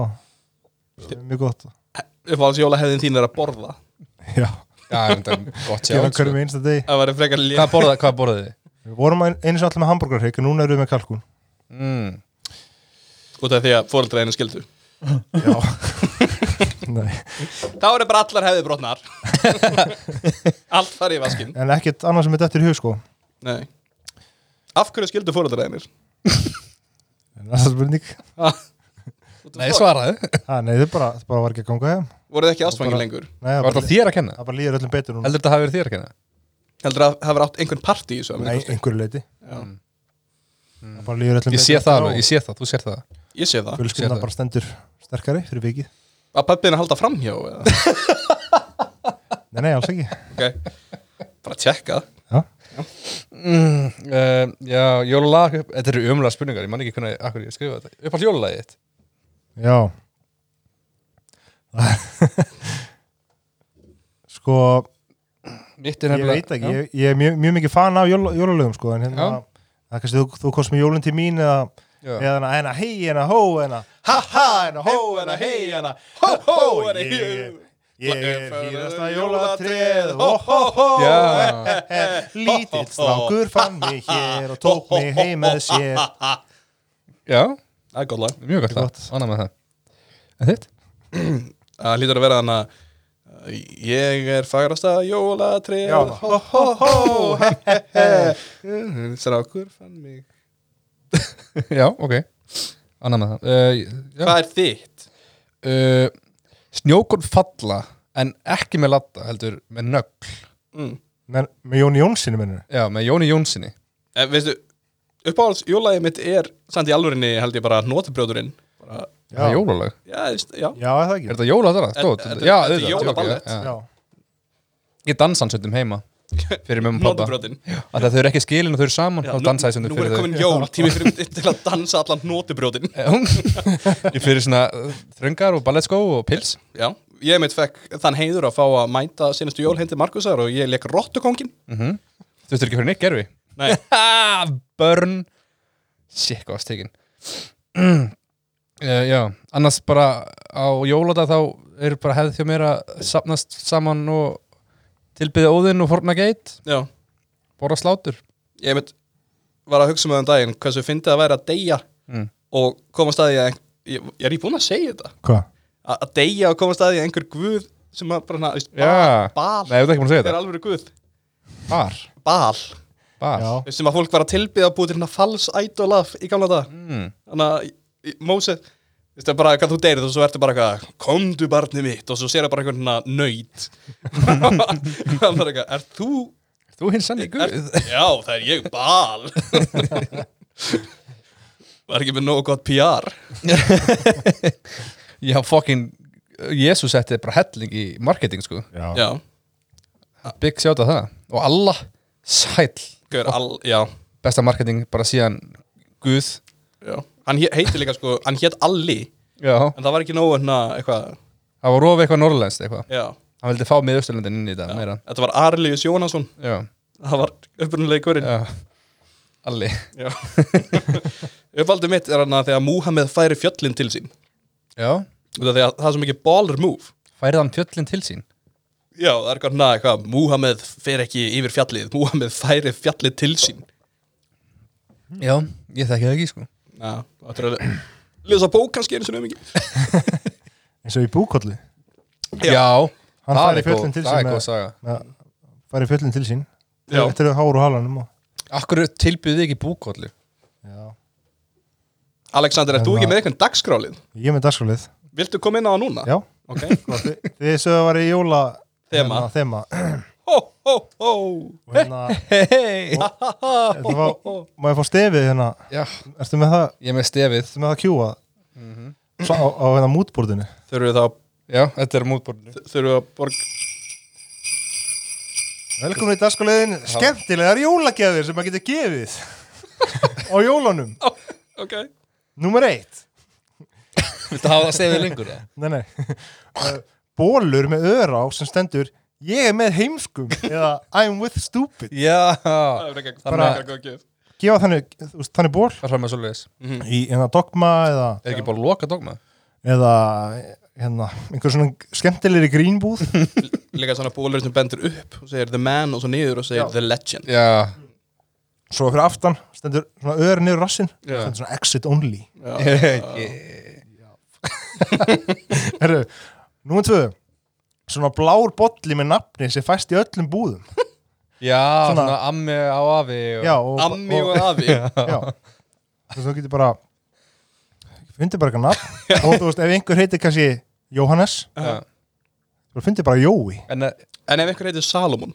Speaker 3: Það er Mjög gott
Speaker 2: Uppáhalds jólahefðin þín er að borða
Speaker 3: Já
Speaker 1: Já, þetta er gott
Speaker 3: Gera
Speaker 1: sjátt
Speaker 3: hverjum
Speaker 1: sko.
Speaker 3: einsta degi
Speaker 2: Það væri frekar lé
Speaker 1: Hvað borðaði hvað borðaði þið?
Speaker 3: Við vorum ein- einu sem allir með hambúrgarhygg En núna erum við með kalkún
Speaker 1: Mm.
Speaker 2: út af því að fóreldra einu skildu
Speaker 3: Já Nei
Speaker 2: Þá eru bara allar hefði brotnar Allt fari í vaskinn
Speaker 3: En ekkert annað sem er dættir í hug sko
Speaker 2: Nei Af hverju skildu fóreldra einir?
Speaker 3: En það er spurning
Speaker 1: Nei, svaraði Var
Speaker 3: ha, Nei, þetta bara, þetta bara var ekki að ganga heim
Speaker 2: Voru þið ekki ástfangin lengur?
Speaker 3: Nei, það bara,
Speaker 1: það þér að kenna?
Speaker 3: það bara líður öllum betur núna
Speaker 1: Heldur þetta hafi verið þér að kenna?
Speaker 2: Heldur að hafa átt einhvern part í þessu? að
Speaker 3: Nei,
Speaker 2: minnsta kosti?
Speaker 3: einhverju leiti
Speaker 2: Já.
Speaker 3: Það bara líður öllum
Speaker 1: sko. Mm. Ég sé það alveg, ég sé það, þú sér það
Speaker 2: Ég sé það
Speaker 1: sé
Speaker 3: Fjölskyldan
Speaker 1: það.
Speaker 3: bara stendur sterkari fyrir vikið
Speaker 2: Að pappin að halda framhjá eða?
Speaker 3: Nei, nei, alls ekki
Speaker 2: Ok Bara tjekka
Speaker 1: mm, uh, Já, jólalag Þetta eru umlega spurningar, ég man ekki hvernig Akkur ég skrifa þetta Upp allt jólalagið þitt
Speaker 3: Já Sko,
Speaker 1: Mitt er
Speaker 3: ég
Speaker 1: nefnilega
Speaker 3: veit ekki Ég, ég er mjög, mjög mikið fan af jól, jólalögum sko En hérna,
Speaker 1: Já.
Speaker 3: það er kannski þú, þú kost með jólun til mín Eða,
Speaker 1: Já.
Speaker 3: eða hérna, hana, hana, hérna, hei, hana, hó, hana Ha, ha, hana, hó, hana, hei, hana Hó, hó, hana, hei hérna, Ég er hýrasta jólatreð Hó, hó, hó
Speaker 1: Já.
Speaker 3: Lítill strákur fann mig hér og tók mig heim með sér
Speaker 1: Já,
Speaker 2: Það er gott lag
Speaker 1: mjög gott það, annað með það En þitt?
Speaker 2: Það hlýtur að vera þannig að Ég er fagrasta jólatrið
Speaker 3: Já.
Speaker 2: Hó, hó, hó he, he, he. Strákur fann mig
Speaker 1: já, ok, annað með það uh, já.
Speaker 2: Hvað er þitt?
Speaker 1: uh, Snjókon falla en ekki með latta heldur með nögl
Speaker 2: Mm.
Speaker 3: Men, Með Jóni Jónssinu minnur
Speaker 1: já, með Jóni Jónssoni
Speaker 2: En Eh, veistu, uppáhalds jólagið mitt er samt í alvörinni held ég bara nótabrjóðurinn bara,
Speaker 1: það er jólalag,
Speaker 2: já, þú veist, já,
Speaker 3: Já, er
Speaker 1: er
Speaker 3: það ekki
Speaker 1: þetta jóla þarna?
Speaker 2: Þetta-
Speaker 1: Stóð,
Speaker 2: þetta-
Speaker 1: já,
Speaker 2: þetta er
Speaker 1: auðvitað,
Speaker 2: jólaballett.
Speaker 1: ok, já.
Speaker 3: Já,
Speaker 1: ég dansa hans hundum heima fyrir mömmu og pappa
Speaker 2: nótabrjóðurinn
Speaker 1: að þau eru ekki skilin og þau eru saman
Speaker 2: Já,
Speaker 1: þá dansa hans
Speaker 2: nú
Speaker 1: hundum
Speaker 2: er
Speaker 1: fyrir
Speaker 2: komin jól, tími fyrir til að dansa allan nótabrjóðurinn
Speaker 1: þau ég fyrir svona uh, þröngar og ballettskó og pils
Speaker 2: já, ég mitt fekk þann heiður að fá að mæta senastu jól hendi Markusar og ég leik rottukongin
Speaker 1: þú þurftur ekki fyrir neitt gerfi
Speaker 2: nei,
Speaker 1: Ha, Burn Shit, hvað var stekin uh, Já, annars bara á jóláta þá er bara hefð hjá mér að sapnast saman og tilbyða óðinn og forna geit
Speaker 2: já,
Speaker 1: borra slátur
Speaker 2: ég mitt var að hugsa um það um daginn hversu fyndið að væri að deyja
Speaker 1: Mm.
Speaker 2: og koma staði að ég, ég er ég búin að segja þetta
Speaker 3: hvað?
Speaker 2: A, að deyja og koma staði að einhver guð sem að bara, na, veist,
Speaker 1: Já. Nei,
Speaker 2: bal, bal,
Speaker 1: ef þú ekki búin að segja
Speaker 2: er
Speaker 1: þetta
Speaker 2: alveg guð
Speaker 1: Bar,
Speaker 2: bal
Speaker 1: bar
Speaker 3: Já,
Speaker 2: sem að fólk var að tilbyða að búið til hérna fals idol af í gamla dag
Speaker 1: mm.
Speaker 2: þannig að í- Móse þú veist það er bara hvað þú deyrið og svo ertu bara eitthvað komdu barnið mitt og svo sér það bara einhvern veginn nöyt hann bara eitthvað, er þú
Speaker 1: Þú hinn sann í
Speaker 2: er,
Speaker 1: guð
Speaker 2: já það er ég bal var ekki með nógu gott PR
Speaker 1: Já, fucking Jésús setti bara helling í marketing sko
Speaker 3: já,
Speaker 2: já,
Speaker 1: Big sjáta það Og alla sæll
Speaker 2: gaur all, já,
Speaker 1: Besta marketing bara síðan guð
Speaker 2: já hann hé- heitir líka sko, hann hétt Alli
Speaker 1: Já,
Speaker 2: en það var ekki nógu hérna eitthvað
Speaker 1: það var rofi eitthvað norrlenskt eitthvað
Speaker 2: já,
Speaker 1: Hann vildi fá miðausturlöndin inn í þetta meira
Speaker 2: þetta var Arlius Jónasson
Speaker 1: Já,
Speaker 2: það var upprunulega gaurinn
Speaker 1: já Alli
Speaker 2: Já Uppaldið mitt er hann að þegar Múhameð færi fjöllin til sín
Speaker 1: Já,
Speaker 2: Út af því að það er svo mikið baller move
Speaker 1: færið hann fjöllin til sín
Speaker 2: Já, það er eitthvað, na, eitthvað, Múhameð fer ekki yfir fjallið Múhameð færi fjallið til sín
Speaker 3: Hmm.
Speaker 1: Já, ég þekki það ekki sko
Speaker 2: Já, það er að lesa bók kannski einu sinni um ekki
Speaker 3: eins og í búkollu
Speaker 2: Já.
Speaker 1: Já, það
Speaker 3: Hann færi
Speaker 1: er góð-
Speaker 3: fjöllin til
Speaker 1: Það
Speaker 3: sín
Speaker 1: er góð
Speaker 3: með-
Speaker 1: saga
Speaker 3: með- Færi fjöllin til sín
Speaker 2: Já.
Speaker 3: Þetta eru hár og halanum og
Speaker 1: Akkur tilbyðið ekki búkollu
Speaker 3: Já.
Speaker 2: Alexander, er
Speaker 3: En
Speaker 2: þú ekki
Speaker 3: það-
Speaker 2: með eitthvað dagskrálið?
Speaker 3: Ég er með dagskrálið
Speaker 2: Viltu koma inn á það núna?
Speaker 3: Já,
Speaker 2: Ok,
Speaker 3: gott. Þi- þið sögðu að vera í jóla
Speaker 2: Þema.
Speaker 3: hérna, þema.
Speaker 2: hó, hó, hó
Speaker 3: Og hérna,
Speaker 1: Hei
Speaker 3: þetta var, má ég fá stefið hérna
Speaker 1: Já,
Speaker 3: Ertu með það,
Speaker 1: ég er með stefið
Speaker 3: ertu með það kjúa Svo á, á hérna mútbúrðinu
Speaker 2: Þurfum við þá,
Speaker 1: Já, þetta er mútborðinu
Speaker 2: þurfum við að borg
Speaker 3: Velkomin í dagskáliðin, skemmtilegar jólagjafir sem maður getur gefið á jólunum.
Speaker 2: Ok
Speaker 3: Númer eitt,
Speaker 1: Viltu hafa það stefið lengur það?
Speaker 3: nei nei, Eh, bólur með öra á sem stendur ég er með heimskum eða I'm with stupid.
Speaker 1: Já
Speaker 2: Það
Speaker 1: Hvað
Speaker 2: er ekki
Speaker 1: Bara-
Speaker 2: eitthvað góð gjöf
Speaker 3: Gefa þannig, þú veist, þannig ból
Speaker 1: er það með svoleiðis?
Speaker 3: í hérna dogma eða,
Speaker 1: Er ekki bara að loka dogma?
Speaker 3: eða hérna, einhver svona skemmtilegri grínbúð.
Speaker 2: Líka svona bólur sem bendur upp og segir the man og svo niður og segir the legend
Speaker 1: Já
Speaker 3: Svo fyrir aftan stendur svona öra niður rassin,
Speaker 1: Já.
Speaker 3: stendur svona exit only.
Speaker 2: Já,
Speaker 1: Ég-
Speaker 3: Herru, númer tvö, svona blár bolli með nafni sem fæst í öllum búðum.
Speaker 1: Já,
Speaker 3: Svona-
Speaker 1: svona ammi á afi og-
Speaker 3: Já, og,
Speaker 2: Ammi og afi
Speaker 3: Já Þú þú getur bara Fundir bara eitthvað nafn Og þú veist, ef einhver heitir kannski Jóhannes
Speaker 1: Já.
Speaker 3: Þú fundir bara Jói
Speaker 1: En eh, að-
Speaker 2: En ef einhver heitir Salomon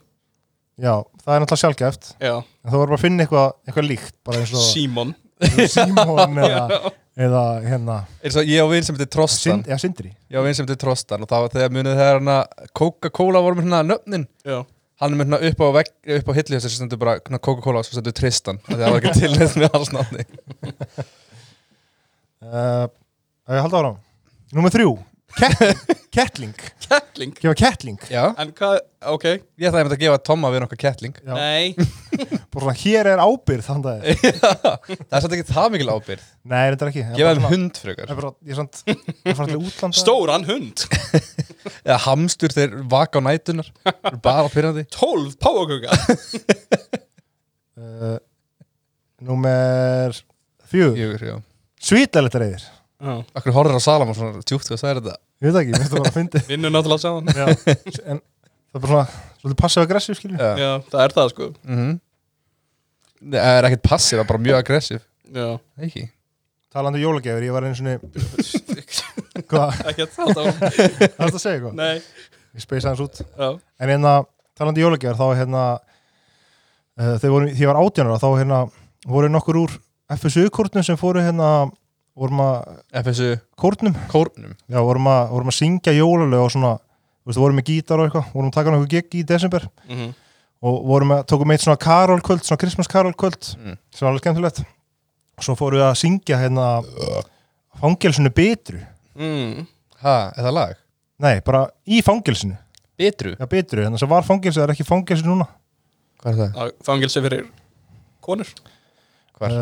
Speaker 3: Já, það er náttúrulega sjálfgæft
Speaker 2: Já,
Speaker 3: En þú verður bara að finna eitthvað, eitthvað líkt Bara eins og
Speaker 2: Simon
Speaker 3: Simon eða, eða hérna
Speaker 1: eins og ég og vinn sem heitir Trostan
Speaker 3: Sind, eða Sindri
Speaker 1: Já, við erum sem til Trostan og það var þegar munið þegar hann að Coca-Cola voru með hérna nöfnin
Speaker 2: Já,
Speaker 1: hann er með hérna upp á, vegg, upp á hillu þess að stendur bara hérna Coca-Cola og svo stendur Tristan af því að það var ekki til þess með alls nátti
Speaker 3: Eh, uh, Ég haldi ára Númer þrjú Kettling
Speaker 2: Kettling?
Speaker 3: Gefa kettling
Speaker 1: Já,
Speaker 2: En hvað, ok,
Speaker 1: ég ætlaði einmitt að gefa Tomma við nokkað kettling
Speaker 3: Já.
Speaker 2: nei
Speaker 3: Bara svona, hér er ábyrð þannig að
Speaker 1: Það er satt ekki það mikil ábyrgð
Speaker 3: Nei, þetta er ekki Ég
Speaker 1: Gefa
Speaker 3: bara
Speaker 1: þeim
Speaker 3: svona-
Speaker 1: hund
Speaker 3: Ég
Speaker 1: frekar
Speaker 3: bara, ég samt, ég fara til útlanda
Speaker 2: Stóran hund,
Speaker 1: Eða hamstur þeir vaka á nætunar Eru Bara pyrrandi
Speaker 2: 12 páfaköka
Speaker 3: uh, Númer fjögur
Speaker 1: Jögur, já
Speaker 3: Svítalegt reyðir
Speaker 1: Akkur horfður á Salam og svona djúpt hvað það er þetta
Speaker 3: Ég veit ekki, mér finnst það bara að fyndi
Speaker 2: Vinnur náttúrulega saman
Speaker 3: En það er bara svona Svolítið passið aggressív skilur
Speaker 1: Já.
Speaker 2: Já, það er það sko
Speaker 1: Mhm. Nei, Það er ekkert passið, það er bara mjög aggressiv
Speaker 2: Já,
Speaker 1: Ekki
Speaker 3: Talandi um jólagjafir, ég var einu svona Hvað,
Speaker 2: ekki að það þá
Speaker 3: það er að segja eitthvað
Speaker 2: Nei,
Speaker 3: Ég speysa hans út
Speaker 2: já,
Speaker 3: En hérna, talandi um jólagjafir, þá hérna uh, Þegar voru, því ég var átjánara Þá hérna, voru nokkur úr FSU-kórnum sem fóru hérna Vorum að,
Speaker 1: FSU
Speaker 3: kórnum
Speaker 1: kórnum
Speaker 3: Já, vorum að, vorum að syngja jólalög og svona Þú veist, vorum með gítar og eitthvað Vorum að taka nokkuð gig í desember
Speaker 2: mhm,
Speaker 3: og vorum að, tókum eitt svona karolkvöld svona Christmas karolkvöld
Speaker 1: Mm.
Speaker 3: sem var alveg skemmtilegt og svo fórum við að syngja hérna fangelsinu bitru
Speaker 2: mhm
Speaker 1: Ha, er það lag?
Speaker 3: nei, bara í fangelsinu
Speaker 1: Bitru
Speaker 3: já, bitru, þannig sem var fangelsi, það er ekki fangelsi núna
Speaker 1: Hvað er það?
Speaker 2: Á Fangelsi fyrir konur
Speaker 1: Hvar?
Speaker 3: uh,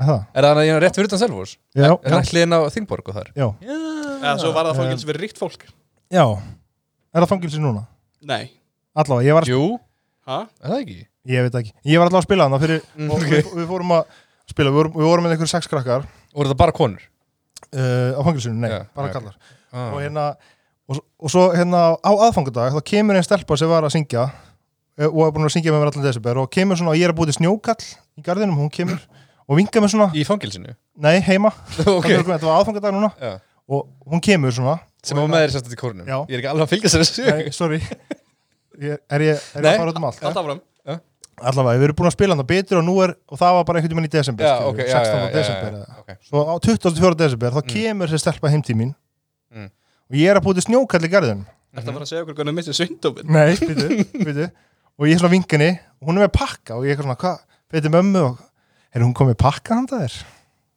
Speaker 3: það,
Speaker 1: Er það hann rétt fyrir utan Selfors?
Speaker 3: já,
Speaker 1: Er
Speaker 3: já,
Speaker 1: hann hliðin á Þingborg og þar?
Speaker 3: já,
Speaker 2: Eða svo var það fangelsi fyrir ríkt fólk
Speaker 3: já er það fangelsi núna?
Speaker 2: Nei,
Speaker 3: allavega, ég var,
Speaker 1: Jú,
Speaker 2: ha?
Speaker 1: er það ekki?
Speaker 3: ég veit ekki ég var allavega að spila þarna fyrir
Speaker 1: Mm,
Speaker 3: og
Speaker 1: ok.
Speaker 3: við, við fórum að spila, við vorum, við vorum með einhverjum sex krakkar
Speaker 1: Og er það bara konur?
Speaker 3: uh, á fangelsinu, nei,
Speaker 1: Já,
Speaker 3: bara
Speaker 1: já,
Speaker 3: kallar
Speaker 1: Ah.
Speaker 3: og hérna og, s- og svo hérna á aðfangadag þá kemur einn stelpa sem var að syngja eh, og er búin að syngja með mér allan desember og kemur svona og ég er að búið til snjókall í garðinum hún kemur og vingar mér svona
Speaker 1: Í fangilsinu?
Speaker 3: nei heima
Speaker 1: ok
Speaker 3: Þannig að þetta var aðfangadag núna
Speaker 1: Já.
Speaker 3: og hún kemur svona
Speaker 1: Sem var með þér sérstætt í kórnum
Speaker 3: Já.
Speaker 1: Ég er ekki alveg að fylgja sér þessu
Speaker 3: nei, sorry ég, er ég, er ég
Speaker 1: Nei,
Speaker 3: að fara út um allt
Speaker 2: Allt áfram
Speaker 3: allavega við erum búin að spila hann betur og nú er og það var bara einhvern veginn í desember
Speaker 1: Já,
Speaker 3: skilur
Speaker 1: ok,
Speaker 3: við,
Speaker 1: já, já, já,
Speaker 3: 16.
Speaker 1: já,
Speaker 3: desember
Speaker 1: já,
Speaker 3: eða.
Speaker 1: ok.
Speaker 3: svo á 24. desember þá kemur þessi stelpa heim til mín
Speaker 1: Mm.
Speaker 3: og ég er að búið til snjókall í garðinum
Speaker 2: Ertu að fara að segja okkur hvernig missið svindómin?
Speaker 3: Nei, býtu, býtu Og ég er svona vinginni, hún er með pakka og ég er svona, hvað, betur mömmu og er hún komið pakka handa þér?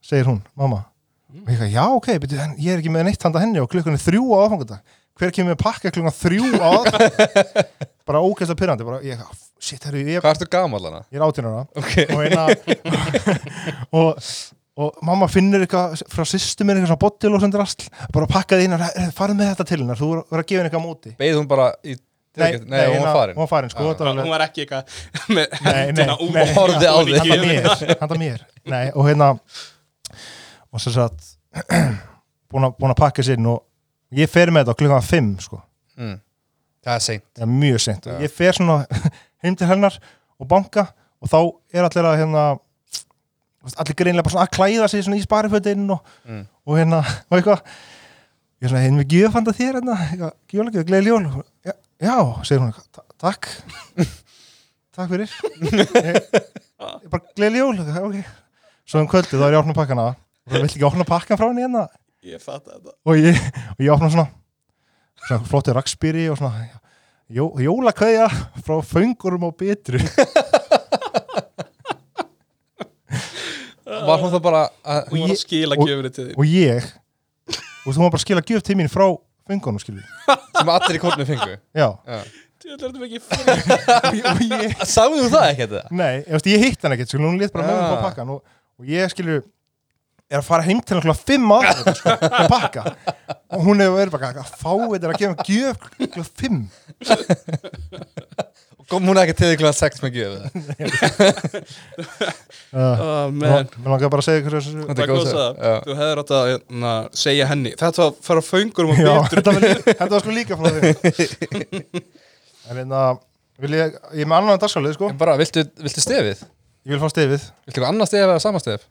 Speaker 3: segir hún, mamma
Speaker 1: Mm.
Speaker 3: og ég er já, ok, býtu, en ég er ekki með neitt handa henni og klukkan er þrjú á aðfangandag hver kemur með pakka klukkan þrjú á aðfangandag bara ógeðslega pyrrandi, bara ég, shit, herri, ég,
Speaker 1: Hvað ertu gamall hana?
Speaker 3: ég er átjánara
Speaker 1: Ok
Speaker 3: og eina og, og mamma finnur eitthvað frá sýstu mér eitthvað svona bottil og sem drasl bara pakkaði inn og farið með þetta til hennar þú verður að gefa henni eitthvað á móti
Speaker 1: Beið hún bara í
Speaker 3: Nei,
Speaker 1: Nei, hún var
Speaker 3: hérna,
Speaker 1: farin Ah.
Speaker 3: Hún var farin, sko, þetta var alveg-
Speaker 2: Hún var ekki eitthvað með
Speaker 3: Nei, nei,
Speaker 2: hendina út
Speaker 3: nei.
Speaker 2: og horfði á
Speaker 1: Handa
Speaker 2: því
Speaker 3: handa mér, handa mér Nei, og hérna og sem sagt búin að- búin að pakka sér inn og ég fer með þetta á klukkan 5 sko,
Speaker 1: Mm. Það er seint
Speaker 3: það er mjög sent og ég fer svona heim til hennar og banka og þá er allir að hérna þú veist, allir greinlega bara svona að klæða sig svona í sparifötin og,
Speaker 1: Mm.
Speaker 3: og hérna og eitthvað ég er svona, hefði mig gjöfanda þér hérna gjöflega, gleði ljól já, já, segir hún eitthvað, "Ta- takk takk fyrir ég, ég bara gleði jól ok svo um kvöldi þá er ég að opna pakkana og það vill ekki opna pakkan frá henni hérna
Speaker 2: Ég fatt þetta
Speaker 3: og ég, og ég opna svona, svona flotti rakspýri og svona jó, jólakveðja frá föngurum og bitru
Speaker 1: Var hún það bara að,
Speaker 2: Hún var
Speaker 3: ég-
Speaker 2: að skila
Speaker 3: og-
Speaker 2: gjöfri til því
Speaker 3: og ég og þú var bara að skila gjöf til mín frá föngunum skilur við.
Speaker 1: sem allir í kórnum fengu?
Speaker 3: já,
Speaker 2: Þetta er þetta mikið fyrir
Speaker 3: og ég, og ég
Speaker 1: Sáðu þú það ekki þetta?
Speaker 3: nei, ég, veist, ég hitt hann ekkert skilur, hún lét bara
Speaker 1: Ah.
Speaker 3: mögum frá pakkan og, og ég skilur er að fara heim til hann fimm ára sko, að pakka og hún hefur verið bara að fá þetta að gefa gjöf klukkan fimm
Speaker 1: Kom hún ekki til því klokkan 6 með gjöfið það?
Speaker 3: uh,
Speaker 2: oh,
Speaker 3: mér
Speaker 2: man.
Speaker 3: langar bara að segja ykkur þessu
Speaker 1: Þetta
Speaker 2: Það
Speaker 1: er
Speaker 2: er
Speaker 1: góð
Speaker 2: góð
Speaker 1: saga.
Speaker 2: saga.
Speaker 1: Já.
Speaker 2: Þú hefðir átt að na, segja henni Þetta var að fara um föngurum og
Speaker 3: Já,
Speaker 2: betur
Speaker 3: þetta var, lí- þetta var sko líka frá því En hérna vil ég, ég er með annan dagskalið sko
Speaker 1: En bara, viltu, viltu stefið?
Speaker 3: Ég vil fá stefið
Speaker 1: Viltu eitthvað annað stef eða sama stef?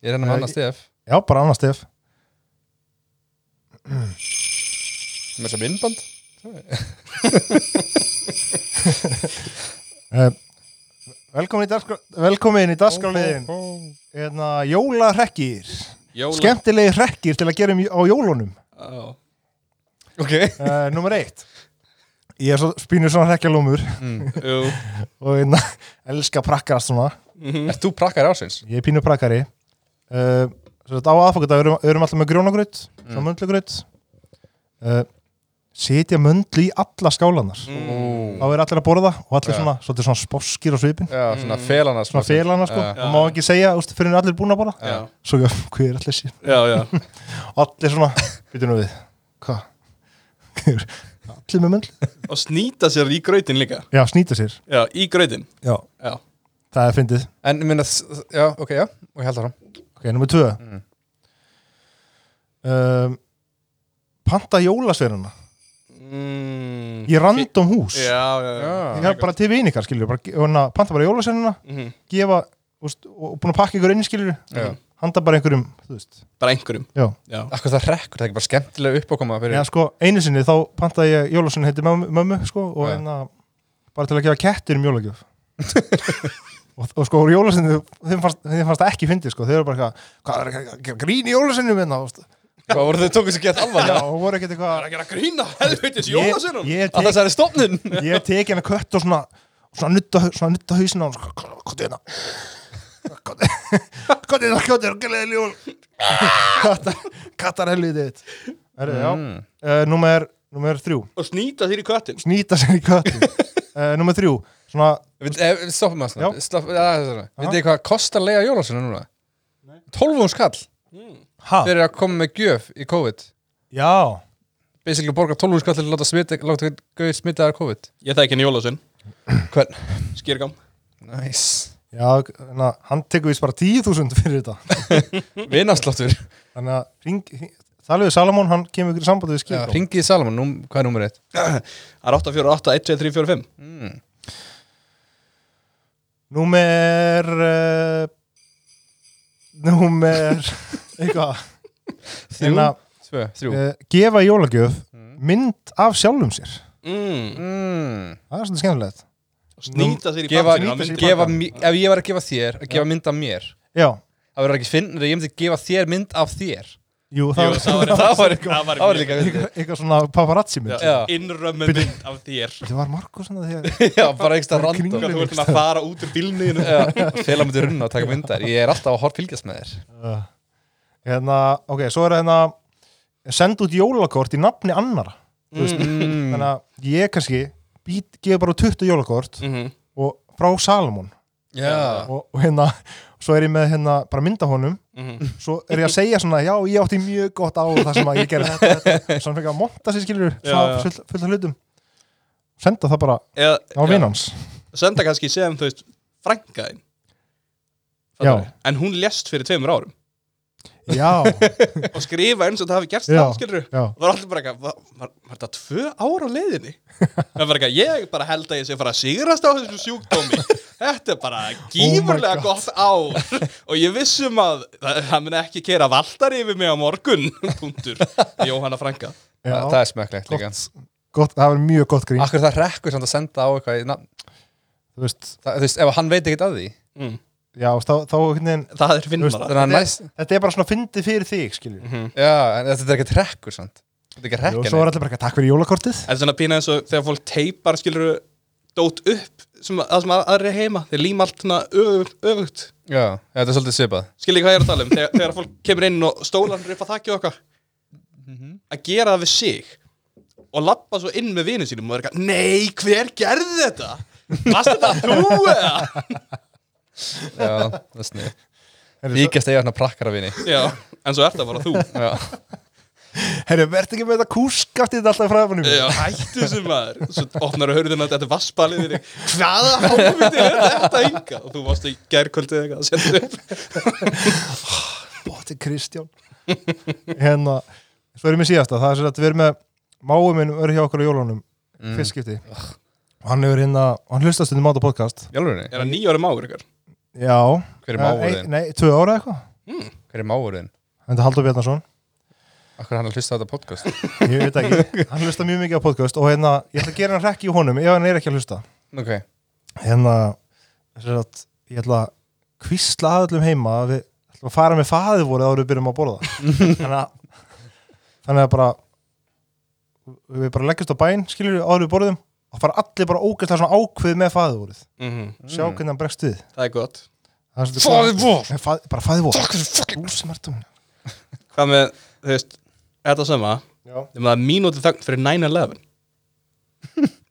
Speaker 1: Ég reyna
Speaker 3: Nei,
Speaker 1: með annað stef
Speaker 3: Já, bara annan stef
Speaker 1: Með þess að minnband?
Speaker 3: uh, Velkomin í, dagskra- velkomin í dagskalið Hérna, jólarekkir
Speaker 2: Jóla
Speaker 3: Skemmtilegi rekkir til að gera um j- á jólunum
Speaker 2: Já.
Speaker 1: Ok
Speaker 3: uh, Númer eitt Ég er svo spínur svona rekkjalómur
Speaker 2: Jú.
Speaker 3: og hérna, elska prakkarast svona
Speaker 2: Mhm.
Speaker 1: Ert þú prakkar ásins?
Speaker 3: Ég er pínu Eh, prakari uh, Á aðfokkata erum, erum alltaf með grjónagraut mm. Svo möndlugraut uh, setja möndlu í alla skálanar þá
Speaker 1: Ú,
Speaker 3: er allir að borða og allir
Speaker 1: Mm. Já.
Speaker 3: svona, svolítið svona sposkir á svipin
Speaker 1: já, svona felana
Speaker 3: Mm. svona felana sko,
Speaker 1: Já.
Speaker 3: og má ekki segja úst, fyrir en allir búin að borða
Speaker 2: Já,
Speaker 3: svo já, hvað er allir sér
Speaker 2: já, já
Speaker 3: allir svona, býtum við hvað, allir með möndlu
Speaker 2: Og snýta sér í grautin líka
Speaker 3: já, snýta sér
Speaker 2: Já, í grautin
Speaker 3: já.
Speaker 2: Já,
Speaker 3: það er fyndið
Speaker 1: en ég minna, já, ok, já, og ég held það
Speaker 3: ok, nummer tvö
Speaker 1: Mm.
Speaker 3: um, panta jólasveruna
Speaker 2: mm,
Speaker 3: í random hús
Speaker 2: Já, já, já,
Speaker 1: Já.
Speaker 3: ég hef bara til vinikar, skiljur bara, ge- hérna, panta bara jólasveruna
Speaker 2: Mhm.
Speaker 3: gefa, úst, og og búin að pakka ykkur inn, skiljur
Speaker 1: Já.
Speaker 3: handa bara einhverjum, þú veist
Speaker 2: Bara einhverjum
Speaker 3: já
Speaker 2: Já,
Speaker 1: Akkur það rekkur, það er ekki bara skemmtilega uppákoma fyrir
Speaker 3: Já, sko, einu sinni þá pantaði ég jólasveinu heiti mömmu, mömmu sko, og
Speaker 1: Já.
Speaker 3: hérna bara til að gefa kettir um jólagjöf og, og sko, jólasveinu þeim fannst, þeim fannst það ekki fyndið, sko, þeir eru bara eitthvað, hvað er að gera grín í jólasveinu minna, og stu-
Speaker 1: Hvað voru þau tókuð sér gett
Speaker 3: já,
Speaker 1: alvarlega?
Speaker 3: og voru
Speaker 2: Það
Speaker 3: ekkert eitthvað
Speaker 2: er að gera grína, helvitis,
Speaker 3: ég,
Speaker 2: Jólasinn
Speaker 3: ég,
Speaker 1: Að
Speaker 3: tek,
Speaker 1: þessari stofnun
Speaker 3: ég tek henni kött og svona svona nutta, svona nutta hausin á hann sko, hvað hvað er það? Hvað er það? Hvað er það? Hvað er það? Hvað er Kattar helvið þitt Herri, já,
Speaker 1: Mm.
Speaker 3: uh, númer, númer þrjú
Speaker 2: Og snýta þér í köttin
Speaker 3: snýta sér í köttin uh, Númer þrjú, svona
Speaker 1: Við- eh, við Stoppum að
Speaker 3: Já.
Speaker 1: svona Stopp- ja, það er svona. Vitið þið hvað kostar leiða jólasinu núna? 12 hún skall
Speaker 3: ha,
Speaker 1: fyrir að koma með gjöf í COVID
Speaker 3: Já,
Speaker 1: Basically borga 12 hún skall til að láta smita, láta gauð smitaðar COVID
Speaker 2: Ég þekki henni Jólasinn
Speaker 1: Hvern?
Speaker 2: Skýrgám
Speaker 1: Nice
Speaker 3: já en að hann tekur vist bara 10.000 fyrir þetta
Speaker 1: Vinafsláttur
Speaker 3: Þannig að hring, hring, Þalvið Salamón, hann kemur ykkur í sambandi við skil
Speaker 1: Ringið í Salomon, nú, hvað er númer 1?
Speaker 2: Það er 848, 12345
Speaker 3: Númer uh, Númer eitthvað
Speaker 1: Þrjú.
Speaker 3: En að,
Speaker 1: 2, 3
Speaker 3: uh, gefa í jólagjöf mynd af sjálfum sér
Speaker 2: mm.
Speaker 1: mm.
Speaker 3: Það er svolítið skemmtilegt
Speaker 2: Og Snýta þér í
Speaker 1: gefa,
Speaker 2: bakinu á
Speaker 3: nýta sér
Speaker 2: myndinni.
Speaker 3: í
Speaker 1: gefa,
Speaker 3: pakkann.
Speaker 1: mi- Ef ég var að gefa þér, að gefa mynd af mér
Speaker 3: Já,
Speaker 1: Það verður ekki finnir, ég myndi gefa þér mynd af þér
Speaker 3: jú, það
Speaker 2: Jú, það var-
Speaker 1: Það var
Speaker 2: það var-
Speaker 1: það var líka fyndið.
Speaker 3: eitthvað svona paparazzi mynd
Speaker 1: Já.
Speaker 2: Já. Innrömmu mynd af þér
Speaker 3: Þetta var Markus hann að því að
Speaker 1: Já, bara einhversta random
Speaker 2: Þú ert að fara út úr bílniðinu
Speaker 1: Fela myndi runna og taka myndar Ég er alltaf að hort fylgjast með þér
Speaker 3: Uh, hérna, ok, svo er það hérna senda út jólakort í nafni annara
Speaker 1: mm.
Speaker 3: þannig að ég kannski být, gefi bara 20
Speaker 2: Mm.
Speaker 3: jólakort
Speaker 2: Mhm,
Speaker 3: og frá Salomon
Speaker 1: Já,
Speaker 3: og, og hérna, svo er ég með hérna bara mynda honum,
Speaker 2: mhm.
Speaker 3: svo er ég að segja svona, já, ég átti mjög gott á það sem að ég gerði þetta, þetta, svona fyrir að monta sér skilur,
Speaker 2: Já,
Speaker 3: svona
Speaker 2: já.
Speaker 3: fullt full af hlutum senda það bara
Speaker 2: Eða-
Speaker 3: á
Speaker 2: já,
Speaker 3: vinnans
Speaker 2: Senda kannski sem, þú veist, frænkaðin
Speaker 3: Já.
Speaker 2: En hún lest fyrir tveimur árum
Speaker 3: já,
Speaker 2: Og skrifa eins og það hafi gerst
Speaker 3: Já.
Speaker 2: það, skilur
Speaker 3: já,
Speaker 2: Og það var allir bara eitthvað, var, var, var þetta tvö ára á leiðinni? Það var eitthvað, ég bara held að ég sé að fara að sigrast á þessu sjúkdómi. Þetta er bara gífurlega
Speaker 3: Oh God.
Speaker 2: gott ár og ég vissum að það, það mun ekki keira valdar yfir mig á morgun, punktur, Jóhanna Franka.
Speaker 3: já.
Speaker 1: Það, það er smekklegt líka
Speaker 3: gott, gott, það var mjög gott grín
Speaker 1: Akkur það rekkur samt að senda á eitthvað í nafn-
Speaker 3: þú veist,
Speaker 1: það, Þú veist, ef hann veit ekkert að því
Speaker 2: Mm.
Speaker 3: já, þá, þá, þá
Speaker 2: Það er
Speaker 1: Þannig
Speaker 2: finnmara.
Speaker 1: að hann
Speaker 3: Þetta er-
Speaker 1: næst
Speaker 3: þetta er bara svona fyndið fyrir þig, skilur
Speaker 1: Já, en þetta er ekkert rekkur samt Þetta er ekki
Speaker 3: og svo
Speaker 1: rekkur
Speaker 3: er allir bara ekki takk fyrir jólakortið
Speaker 2: En svona pína eins og þegar fólk teipar, skilur dót upp, sem, að sem aðri heima, þeir líma allt svona öfugt, öfugt.
Speaker 1: Já, þetta er svolítið svipað
Speaker 2: Skilur hvað ég er að tala um, þegar, þegar fólk kemur inn og stólan rifa þakki okkar. að gera það við sig og lappa svo inn með vinu sínum og er eitthvað, nei, hver gerði þetta? Varst þetta þú eða?
Speaker 1: Já, það er snið
Speaker 3: Heyrðu,
Speaker 1: Líkast eiga hann að prakkara vini
Speaker 2: Já, en svo ert það bara þú.
Speaker 1: Já,
Speaker 3: Herru, verð ekki með þetta kúskaft í þetta alltaf fræðabannum
Speaker 2: Já, hættu sem maður. Svo opnar að hörðina þetta er vasspalið þinni. Hvaða hálfviti er þetta enga? Og þú varst í gærkvöldið eitthvað að setja upp.
Speaker 3: Bóti Kristján Hérna, svo erum við síðasta Það er sér að við erum með máu minn öru hjá okkur á jólunum mm. fyrst skipti og hann hefur hérna, hann hlustast um át á podcast
Speaker 1: jálfurinni
Speaker 2: Er það nýjóri mágur ykkur?
Speaker 3: Já
Speaker 1: Hver er
Speaker 3: Eh,
Speaker 1: mágur
Speaker 3: ei-
Speaker 1: þinn?
Speaker 3: Nei, tvö ára eitthvað
Speaker 1: Hver er máurinn?
Speaker 3: Þetta er Haldur Bjarnason,
Speaker 1: Akkur er hann að hlusta á þetta podcast
Speaker 3: ég veit ekki Hann hlusta mjög mikið á podcast og hérna ég ætla að gera hann rekki í honum ef hann er ekki að hlusta
Speaker 1: Ok,
Speaker 3: Hérna, sér að ég ætla að kvísla aðallum heima að við ætlum að fara með faði voru áður við byrjum að borða þannig að þannig að bara við bara leggjast á bæn, skilur við áður við borðum og fara allir bara ógæslega svona ákveð með faði voruð sjá hvernig hann bregst við
Speaker 2: Mhm, Það er gott.
Speaker 3: Það er svolítið
Speaker 1: Faðirvor!
Speaker 3: klart. Nei, fað, bara faði voru þú sem ert um
Speaker 2: Hvað með, þú veist, er þetta sama?
Speaker 3: Já.
Speaker 2: þegar það er mínútið þögn fyrir 9-11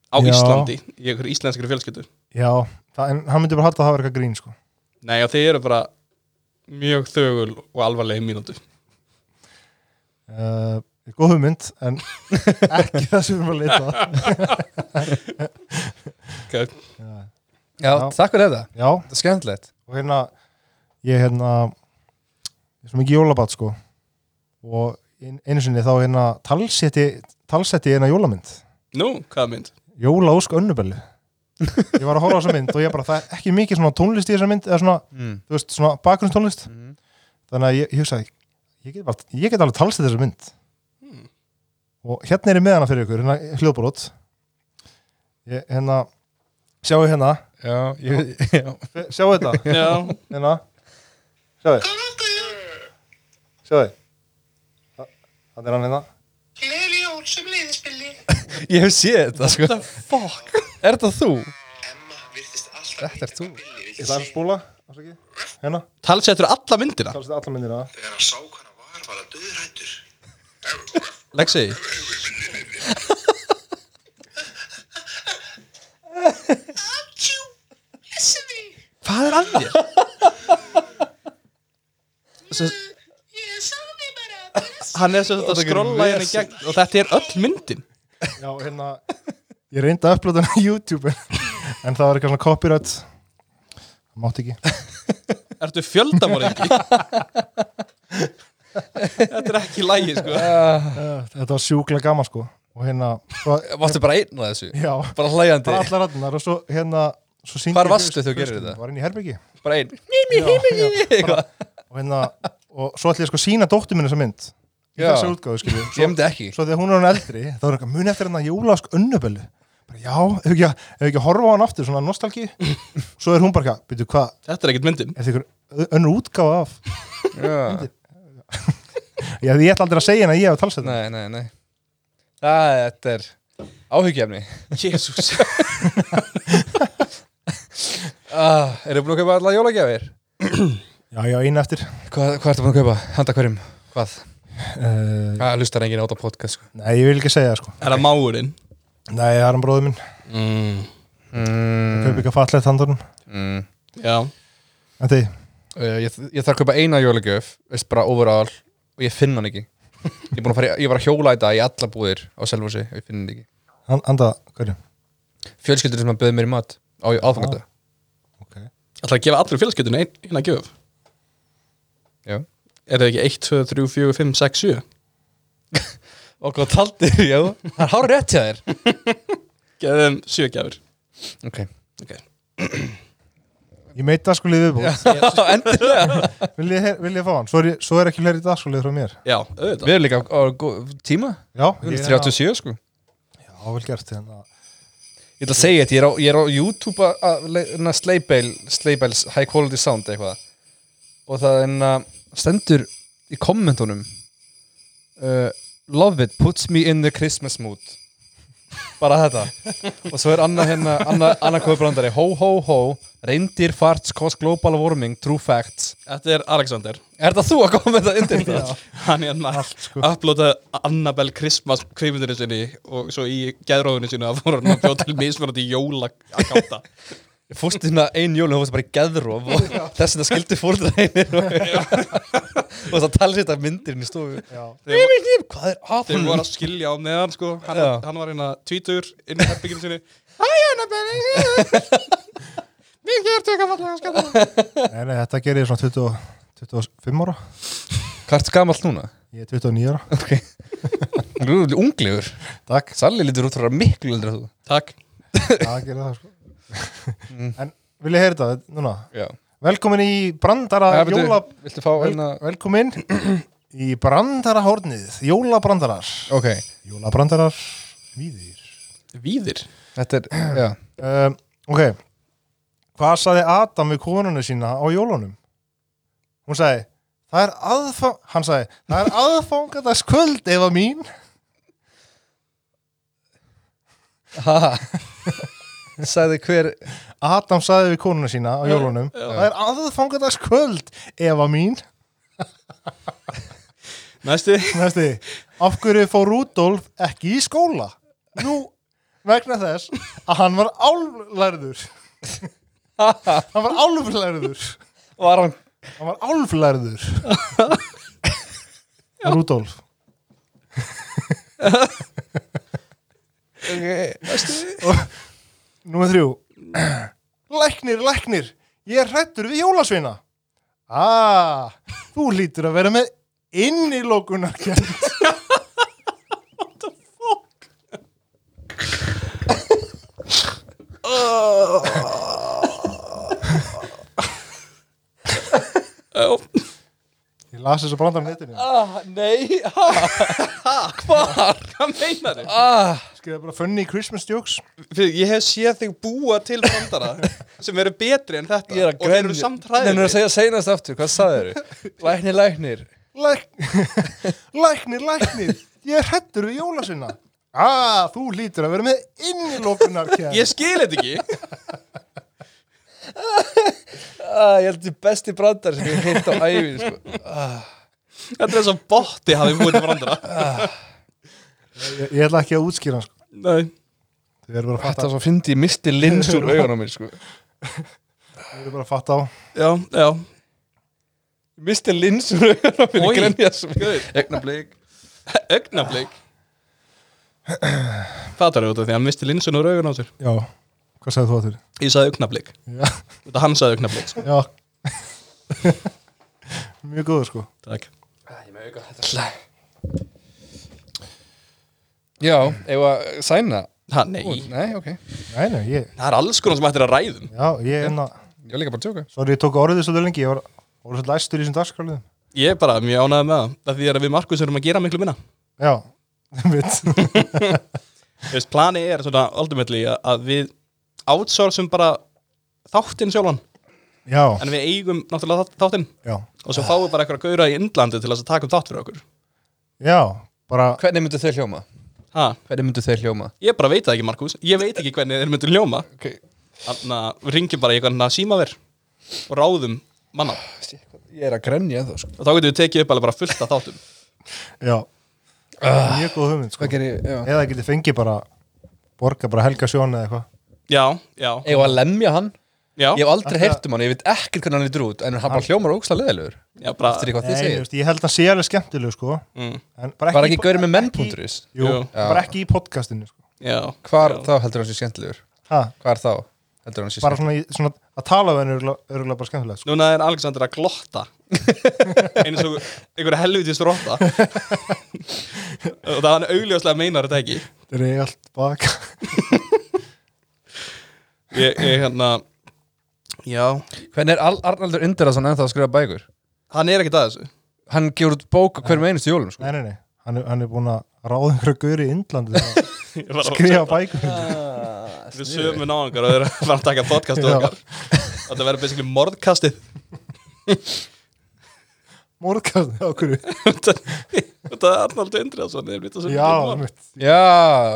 Speaker 2: á
Speaker 3: Já.
Speaker 2: Íslandi í einhverju íslenskri fjölskyldu
Speaker 3: Já, það, en hann myndi bara halda að það var eitthvað grín sko.
Speaker 2: Nei, og þeir eru bara mjög þögul og alvarlega mínútu
Speaker 3: uh, Góð hugmynd, en ekki það sem við erum að leita að.
Speaker 2: okay.
Speaker 3: Já.
Speaker 1: Já,
Speaker 3: Já.
Speaker 1: takk fyrir þetta,
Speaker 3: Já,
Speaker 1: þetta er skemmtilegt
Speaker 3: og hérna ég hérna ég er svo mikið jólabat sko og ein- einu sinni þá hérna talsetti, talsetti ég hérna jólamynd
Speaker 2: Nú, hvaða mynd?
Speaker 3: Jólaósk önnubellu ég var að horfa á þessa mynd og ég bara það er ekki mikið svona tónlist í þessa mynd eða svona,
Speaker 1: mm.
Speaker 3: þú veist, svona bakgrunnstónlist
Speaker 1: Mhm.
Speaker 3: þannig að ég, ég hugsaði ég get, bara, ég get alveg talsett þessa mynd og hérna er ég með hana fyrir ykkur hérna hljóðbrót ég, hérna sjáu hérna,
Speaker 1: Já, ég, já
Speaker 3: sjáu þetta
Speaker 2: Já,
Speaker 3: hérna sjáu sjáu þannig er hann hérna
Speaker 4: Gleðileg jól sem leiðispilli.
Speaker 1: Ég hef séð þetta, sko
Speaker 2: fuck
Speaker 1: Er þetta þú?
Speaker 4: Emma virtist
Speaker 1: Þetta
Speaker 4: alltaf
Speaker 1: er
Speaker 4: líka
Speaker 1: þú.
Speaker 4: Billy, vildi
Speaker 3: ég ætla að
Speaker 4: segja.
Speaker 3: spóla afsakið. hérna,
Speaker 2: Talsettur alla myndina
Speaker 3: talsett alla myndina
Speaker 4: Þegar hann sá hvað hann var, var það döðrættur.
Speaker 2: Lexi
Speaker 4: Atjú, hessi þig.
Speaker 2: Hvað er að þér? Svo,
Speaker 4: Uh, Ég sá þig bara. bless.
Speaker 2: hann er svo þetta að skrolla hérna í gegn og þetta er öll myndin
Speaker 3: já, hérna ég reyndi að upplota hana á YouTube en það var eitthvað svona copyright það mátti ekki
Speaker 2: Ertu fjöldamorðingi? þetta er ekki lægi sko
Speaker 1: Uh, Eh,
Speaker 3: þetta var sjúklega gaman sko og hérna svo,
Speaker 1: Varstu bara einn á þessu?
Speaker 3: já,
Speaker 1: Bara hlæjandi,
Speaker 3: bara allar rannar og svo hérna svo sýndi
Speaker 1: Hvar
Speaker 3: ég
Speaker 1: varstu
Speaker 3: fyrir-
Speaker 1: þegar þú gerir
Speaker 3: fyrir-
Speaker 1: þetta?
Speaker 3: var inn í herbyggi
Speaker 1: bara einn
Speaker 3: bara, og hérna og svo ætla ég sko að sína dóttur minni þessa mynd í
Speaker 1: Já.
Speaker 3: þessu útgáðu skilju
Speaker 1: Ég myndi ekki
Speaker 3: svo þegar hún er hann eldri þá er eitthvað mun eftir hann að jólask önnubölu bara já, ef ekki, að- ef ekki að horfa á hann aftur svona nostalgi svo er hún bara eitthvað, byrju hvað,
Speaker 2: Þetta er ekkert myndin
Speaker 3: er þetta ykkur önnur útgáfa af
Speaker 1: Já.
Speaker 3: já, því ég ætla aldrei að segja henni að ég hef talsett
Speaker 1: Nei, nei, nei Það, þetta er áhyggjefni
Speaker 2: Jésús
Speaker 1: ah, Eru búin að kaupa alla jólagjafir?
Speaker 3: já, já, eina eftir
Speaker 1: Hvað, hvað ertu búin að kaupa? Handa hverjum? Hvað?
Speaker 3: uh,
Speaker 1: Hvað hlustar enginn átt á podcast? Sko?
Speaker 3: nei, ég vil ekki segja það, sko
Speaker 2: Er það máurinn?
Speaker 3: nei, það er hann bróður minn,
Speaker 2: Mm.
Speaker 1: Mm,
Speaker 3: kaup ekki að fallegt handunum
Speaker 1: mm.
Speaker 2: Já
Speaker 3: en þið,
Speaker 1: Uh, ég, ég þarf að kaupa eina jólagjöf veist bara overall og ég finn hann ekki ég, er búinn að fara, í- ég var að hjóla í dag í alla búðir á Selfossi og ég finn hann ekki
Speaker 3: Hand- handa, hverju
Speaker 1: fjölskyldur sem að bauði mér í mat á aðfangardag
Speaker 3: ok,
Speaker 2: Það að gefa allri fjölskyldinu ein, eina gjöf
Speaker 1: Já.
Speaker 2: Er það ekki 1, 2, 3, 4, 5, 6, 7
Speaker 1: og hvað taldir, já það er hár rétt hjá þér
Speaker 2: Geðum 7 gjafir
Speaker 1: ok,
Speaker 2: okay.
Speaker 3: ég meita sko liðið viðbúð
Speaker 1: endilega
Speaker 3: vil ég, heyr- vil ég fá hann, svo er, ég- svo er ekki fleiri dag sko liðið frá mér
Speaker 2: Já, auðvitað
Speaker 1: við erum líka á, á gó- tíma
Speaker 3: já,
Speaker 1: við
Speaker 3: ég
Speaker 1: erum
Speaker 3: er
Speaker 1: 37 sko
Speaker 3: að- já, vel gert hérna.
Speaker 1: ég ætla að segja þetta, ég er á, ég er á YouTube að- að le- hérna, Sleibel, Sleibels High Quality Sound eitthvað og það er enna stendur í kommentunum uh, Love it, puts me in the Christmas mood bara þetta og svo er annað hérna, annað anna brandari ho ho ho, reindir farts cause global warming, true facts
Speaker 2: Þetta er Alexander
Speaker 1: er það þú að kommenta undir það?
Speaker 2: Hann er hérna
Speaker 3: sko.
Speaker 2: uploadaði Annabelle Christmas kveimundinu sinni og svo í geðróðinu sinni að voru hann að bjóða til mismunandi jóla að gáta
Speaker 1: Ég fórst hérna ein jól og þú fórst bara í geðróf og þess að skildi fórður einir og og það tala sér þetta myndirinn í stofu
Speaker 3: Já.
Speaker 1: Nei, nei, nei, hvað er að
Speaker 2: Þeir
Speaker 1: honum?
Speaker 2: voru að skilja á meðan sko Hann,
Speaker 1: Já.
Speaker 2: hann var hérna tvítur inn í herbygginu sinni Æ, Annabelle Mér gerðu eitthvað fallega skattar
Speaker 3: nei, nei, þetta gerir ég svona 20, 25 ára
Speaker 1: Hvað ertu gamall núna?
Speaker 3: ég er 29 ára
Speaker 1: Ok Þú eru ungliður
Speaker 3: Takk.
Speaker 1: Salli lítur út frá miklu eldra en þú
Speaker 2: Takk
Speaker 3: Já, það gerir það sko En vil ég heyra þetta núna
Speaker 1: Já
Speaker 3: Velkomin í brandara
Speaker 1: Það betur,
Speaker 3: jóla
Speaker 1: viltu fá
Speaker 3: vel,
Speaker 1: hérna
Speaker 3: Velkomin í brandara hornið Jólabrandarar
Speaker 1: Ok,
Speaker 3: Jólabrandarar Víðir
Speaker 2: Víðir
Speaker 1: þetta er, já
Speaker 3: um, Ok Hvað saði Adam við konuna sína á jólunum? Hún sagði Það er aðfang Hann sagði Það er aðfangadags kvöld Eva mín
Speaker 1: Ha Sæði hver
Speaker 3: Adam sagði við konuna sína á jólunum
Speaker 2: Já.
Speaker 3: Það er aðfangadags kvöld Eva mín
Speaker 2: Næsti
Speaker 3: Næsti af hverju fór Rúdolf ekki í skóla? Nú, vegna þess að hann var álflærður. hann var álflærður.
Speaker 1: Var hann
Speaker 3: Hann var álflærður. Rúdolf. Númer þrjú. Læknir, læknir, ég er hrættur við jólasveina. Ah, þú hlýtur að vera með innilokunarkjönd.
Speaker 2: Já.
Speaker 3: Ég las þess að branda á netinu.
Speaker 1: ah, Nei, ah,
Speaker 2: Hvað? Hvað meinar þau?
Speaker 1: ah.
Speaker 3: Skrifa bara funny Christmas jokes.
Speaker 2: Ég hef séð þig búa til brandara sem eru betri en þetta
Speaker 1: Ég er að
Speaker 2: og þeir eru samt hræðir
Speaker 1: Nei, nú er að segja seinast aftur, hvað sagðir þau? Læknir, læknir
Speaker 3: Læk... læknir, læknir, ég er hrættur við jólasveina. Ah, þú hlýtur að vera með innilokunarkjönd.
Speaker 2: Ég skil þetta ekki
Speaker 1: ah, Ég held því besti brandar sem ég hef heitt á ævi sko.
Speaker 2: Þetta er þess að botti hafi búið til brandara
Speaker 3: Ég, ég ætla ekki að útskýra hann, sko.
Speaker 2: Nei
Speaker 3: Þið eru bara að
Speaker 1: Þetta
Speaker 3: fatta,
Speaker 1: var svo fyndi, ég misti lins úr augunum mér sko.
Speaker 3: þið eru bara að fatta á.
Speaker 2: Já, já
Speaker 1: Misti lins úr augunum mér,
Speaker 2: Oj.
Speaker 1: ég grenja svo
Speaker 2: Guð.
Speaker 1: Egnablík
Speaker 2: Ögnablík Fattar þú þetta því að hann misti linsun úr augun á sér
Speaker 3: Já, hvað sagði þú að þér?
Speaker 2: Ég sagði ögnablík
Speaker 3: Já,
Speaker 2: Þetta hann sagði ögnablík sko.
Speaker 3: já. Mjög góður, sko.
Speaker 2: Takk
Speaker 1: Já, ef að sæna
Speaker 2: Ha, nei
Speaker 1: Ú, Nei, ok
Speaker 3: Nei, nei, ég,
Speaker 2: Það er alls konar sem hættir að um. ræðum
Speaker 3: já, ég er enna,
Speaker 1: Ég var líka bara að tjóka
Speaker 3: sorry, ég tók orðið svolítið lengi, ég var orðið svolítið læstur í þessum dagskráliðum.
Speaker 2: Ég er bara mjög ánægð með það Það því er að við Markus erum að gera miklu minna
Speaker 3: Já, mitt.
Speaker 2: Þú veist, plani er svona ultimately að- að við outsourcum bara þáttinn sjálfan
Speaker 3: Já,
Speaker 2: En við eigum náttúrulega þátt- þáttinn
Speaker 3: já,
Speaker 2: Og svo fáum við bara eitthvað gauðra í Indlandi til þess að taka um þátt fyrir okkur
Speaker 3: já, bara,
Speaker 1: Hvernig myndu þeir hljóma?
Speaker 2: ha,
Speaker 1: Hvernig myndu þeir hljóma?
Speaker 2: Ég bara veit það ekki Markus Ég veit ekki hvernig þeir myndir ljóma
Speaker 1: Okay.
Speaker 2: Þannig að við ringjum bara í eitthvað símaver og ráðum manna
Speaker 1: Ég er að grenja þá sko.
Speaker 2: og þá getum við tekið upp alveg bara fullt af þáttum
Speaker 3: já,
Speaker 1: Ah.
Speaker 3: mjög góð hugmynd, sko.
Speaker 1: Hvað gerir ég? Já.
Speaker 3: Eða getið fengið bara, borga bara helga sjón eða eitthvað.
Speaker 2: Já, já,
Speaker 1: Ég var að lemja hann
Speaker 2: já,
Speaker 1: Ég hef aldrei heyrt um hann, ég veit ekkert hvernig hann lítur út En hann bara hljómar ógslag leðilegur
Speaker 2: já bara,
Speaker 1: Þetta er eitthvað þið
Speaker 3: Nei, þú
Speaker 1: segir
Speaker 3: veist, ég held að sé alveg skemmtileg, sko.
Speaker 2: mm,
Speaker 3: En bara
Speaker 1: Var
Speaker 3: í
Speaker 1: ekki
Speaker 3: po-
Speaker 1: gaurið með menn.is?
Speaker 3: Jú,
Speaker 2: Jú.
Speaker 3: bara ekki í podcastinu, sko.
Speaker 2: já,
Speaker 1: Hvar
Speaker 2: já.
Speaker 1: þá heldur hann sér skemmtilegur?
Speaker 3: Ha,
Speaker 1: Hvar þá heldur hann sér
Speaker 3: bara
Speaker 1: skemmtilegur?
Speaker 3: svona, í, svona að tala við henni er örugglega- örugglega bara skemmtilegt, sko.
Speaker 2: Núna er Alexander að glotta eins og einhverja helvitist rotta og það hann augljóslega meinar þetta ekki
Speaker 3: Þetta er allt baka.
Speaker 2: Ég, ég hérna Já,
Speaker 1: Hvernig er Al Arnaldur Indirason ennþá að skrifa bækur?
Speaker 2: hann er ekkert að þessu
Speaker 1: Hann gefur út bók á hverjum einustu jólum sko.
Speaker 3: Nei, nei, nei, hann er, hann er búin að ráða einhverju gauri í Indlandi til að
Speaker 2: Ég var að-
Speaker 3: skrifa bækur.
Speaker 2: Við sömu náðungar og þeirra var að taka podcast
Speaker 3: Já.
Speaker 2: okkar Þetta verður basically morðkastið
Speaker 3: Morgast, á hverju?
Speaker 2: Þetta þetta er Arnaldur Indriðarsson Já,
Speaker 3: Já, mitt.
Speaker 1: Já,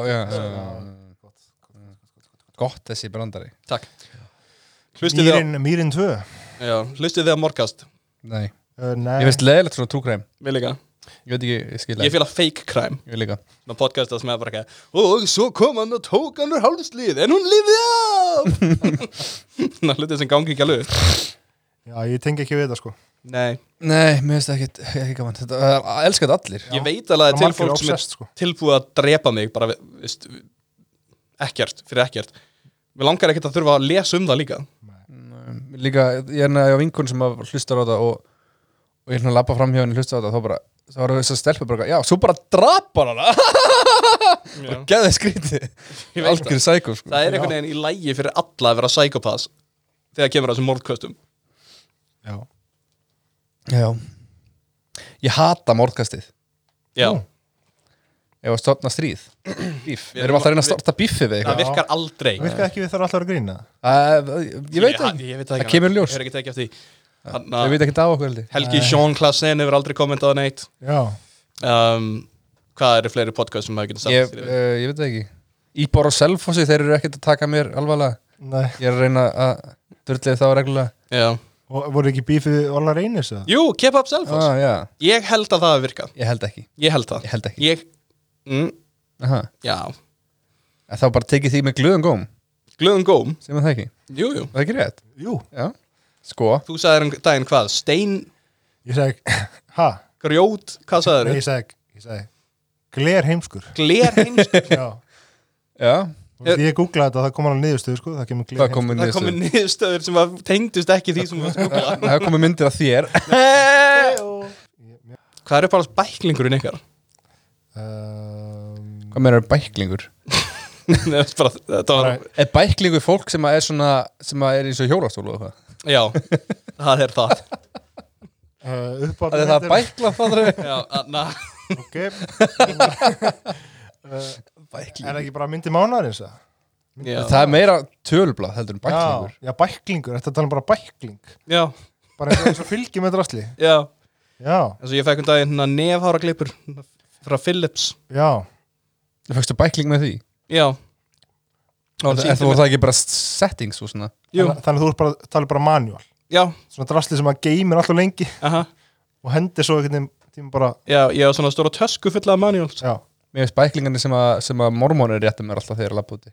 Speaker 1: já, já, já. Gott þessi brandari
Speaker 2: Takk Hlustið þið á,
Speaker 3: Mýrin, Mýrin 2
Speaker 2: já, hlustið þið á morgast
Speaker 1: Nei,
Speaker 3: uh,
Speaker 1: ég
Speaker 3: Nei,
Speaker 1: finnst leðilegt svona trúkræm
Speaker 2: Mér líka
Speaker 1: Ég veit ekki, ég skil
Speaker 2: Ég
Speaker 1: ekki
Speaker 2: fíla fake crime
Speaker 1: Ég líka
Speaker 2: Svona podcasta sem er bara ekki Og svo kom hann og tók hann úr hálfslið En hún lifði af Ná, hlutið sem gangi ekki alveg upp.
Speaker 3: já, ég tengi ekki við þetta sko
Speaker 2: Nei,
Speaker 1: Nei, mér finnst ekkit, ekki gaman Þetta, uh, elska þetta allir
Speaker 2: ég veit alveg að
Speaker 3: Það
Speaker 2: til
Speaker 3: er
Speaker 2: fólk
Speaker 3: margir
Speaker 2: sem er
Speaker 3: obsessed, sko.
Speaker 2: tilbúið að drepa mig bara, við- veist, við- ekkert, fyrir ekkert Mér langar ekkert að þurfa að lesa um það líka
Speaker 1: Um, líka, ég er næði á vinkun sem að hlustar á þetta og, og ég er hérna að labba fram hjá henni hlusta á þetta og þá bara, þá var þess að stelpa bara, já, svo bara drapar hana
Speaker 2: Já.
Speaker 1: geðið skrítið,
Speaker 2: Ég veit
Speaker 1: algjör sækum sko.
Speaker 2: Það er einhvern veginn í lægi fyrir alla að vera psykopass þegar kemur að þessum morðkvöstum
Speaker 3: Já,
Speaker 1: já ég hata mórkastið
Speaker 2: Já,
Speaker 1: ef að stofna stríð, bíf
Speaker 2: Við
Speaker 1: við erum
Speaker 2: erum
Speaker 1: alltaf að reyna að
Speaker 2: við-
Speaker 1: stofna bífi við
Speaker 2: það
Speaker 1: eitthvað
Speaker 2: virkar aldrei
Speaker 3: virkað ekki við þarf alltaf að grína
Speaker 1: uh, ég veit
Speaker 2: ég,
Speaker 1: ekki,
Speaker 2: ég veit
Speaker 1: það
Speaker 2: ekki
Speaker 1: kemur í ljós
Speaker 2: Ég
Speaker 1: ég
Speaker 2: er ekki tekið eftir því Þannig að
Speaker 1: veit ekki það á okkur heldig
Speaker 2: Helgi Sjón Klassen hefur aldrei kommentað á neitt
Speaker 3: Já,
Speaker 2: um, Hvað eru fleiri podcast sem maður getur sagt
Speaker 1: ég,
Speaker 2: yfir?
Speaker 1: uh, ég veit það ekki Íbor og Selfossi, þeir eru ekkert að taka mér alvarlega
Speaker 3: nei,
Speaker 1: ég er að reyna að dörlega þá reglulega
Speaker 2: Já,
Speaker 3: og voru ekki bífið Óla Reynis eða?
Speaker 2: Jú, keep up selfos
Speaker 1: ah, já.
Speaker 2: Ég held að það hafi virkað
Speaker 1: Ég held ekki
Speaker 2: Ég held það
Speaker 1: Ég held ekki
Speaker 2: Ég, mm,
Speaker 1: Aha.
Speaker 2: já
Speaker 1: En Þá bara tekið því með glöðum góm
Speaker 2: Glöðum góm
Speaker 1: sem er það ekki
Speaker 2: Jú, jú
Speaker 1: Er Það ekki rétt
Speaker 3: Jú,
Speaker 1: Já Sko
Speaker 2: Þú sagðir um daginn hvað? Stein,
Speaker 3: ég segi, ha,
Speaker 2: grjót, hvað sagðir
Speaker 3: nei, ég segi, ég segi, gler heimskur.
Speaker 2: Gler heimskur
Speaker 3: Já,
Speaker 1: Já
Speaker 3: og ég googlaði þetta og það kom alveg niðurstöðu, sko, það kemur gler
Speaker 1: Það komið
Speaker 2: Það komi
Speaker 1: niður
Speaker 2: niðurstöður sem að tengdust ekki því sem við skugla
Speaker 1: Það komið myndir af þér
Speaker 2: Hvað er upp alveg bæklingurinn ykkar?
Speaker 3: Um,
Speaker 1: Hvað meira er bæklingur?
Speaker 2: Nei, þetta bara- þetta var,
Speaker 3: Bara-
Speaker 1: Er bæklingur fólk sem að er svona sem að er eins og hjólastólu og hvað?
Speaker 2: já, það er það
Speaker 3: uh, upp á
Speaker 1: Það er það bækla það er
Speaker 2: Já, na,
Speaker 3: Ok. uh, er það ekki bara myndi mánaðarins það?
Speaker 2: já,
Speaker 1: Það er meira tölblað heldur en bæklingur
Speaker 3: Já, já bæklingur, þetta tala um bara bækling.
Speaker 2: já,
Speaker 3: Bara eins og- eins og fylgjum með drasli.
Speaker 2: já
Speaker 3: Já,
Speaker 2: Þess að ég fekk um daginn hérna nefhára klippur frá Philips
Speaker 3: já.
Speaker 1: Það fækstu bækling með því
Speaker 2: Já
Speaker 1: Er það
Speaker 2: Sýndi mér-
Speaker 1: voru það ekki bara settings og svona
Speaker 2: Jú,
Speaker 3: Þannig, þannig að þú ert bara, talar bara manual.
Speaker 2: já,
Speaker 3: Svona drasli sem að geymir alltaf lengi
Speaker 2: aha
Speaker 3: og hendir svo einhvern veginn tíma bara,
Speaker 2: Já, ég hef svona stóra tösku fulla af manuals
Speaker 3: já.
Speaker 1: Mér veist bæklingarnir sem að, sem að mormónir réttum er alltaf þegar að lappa úti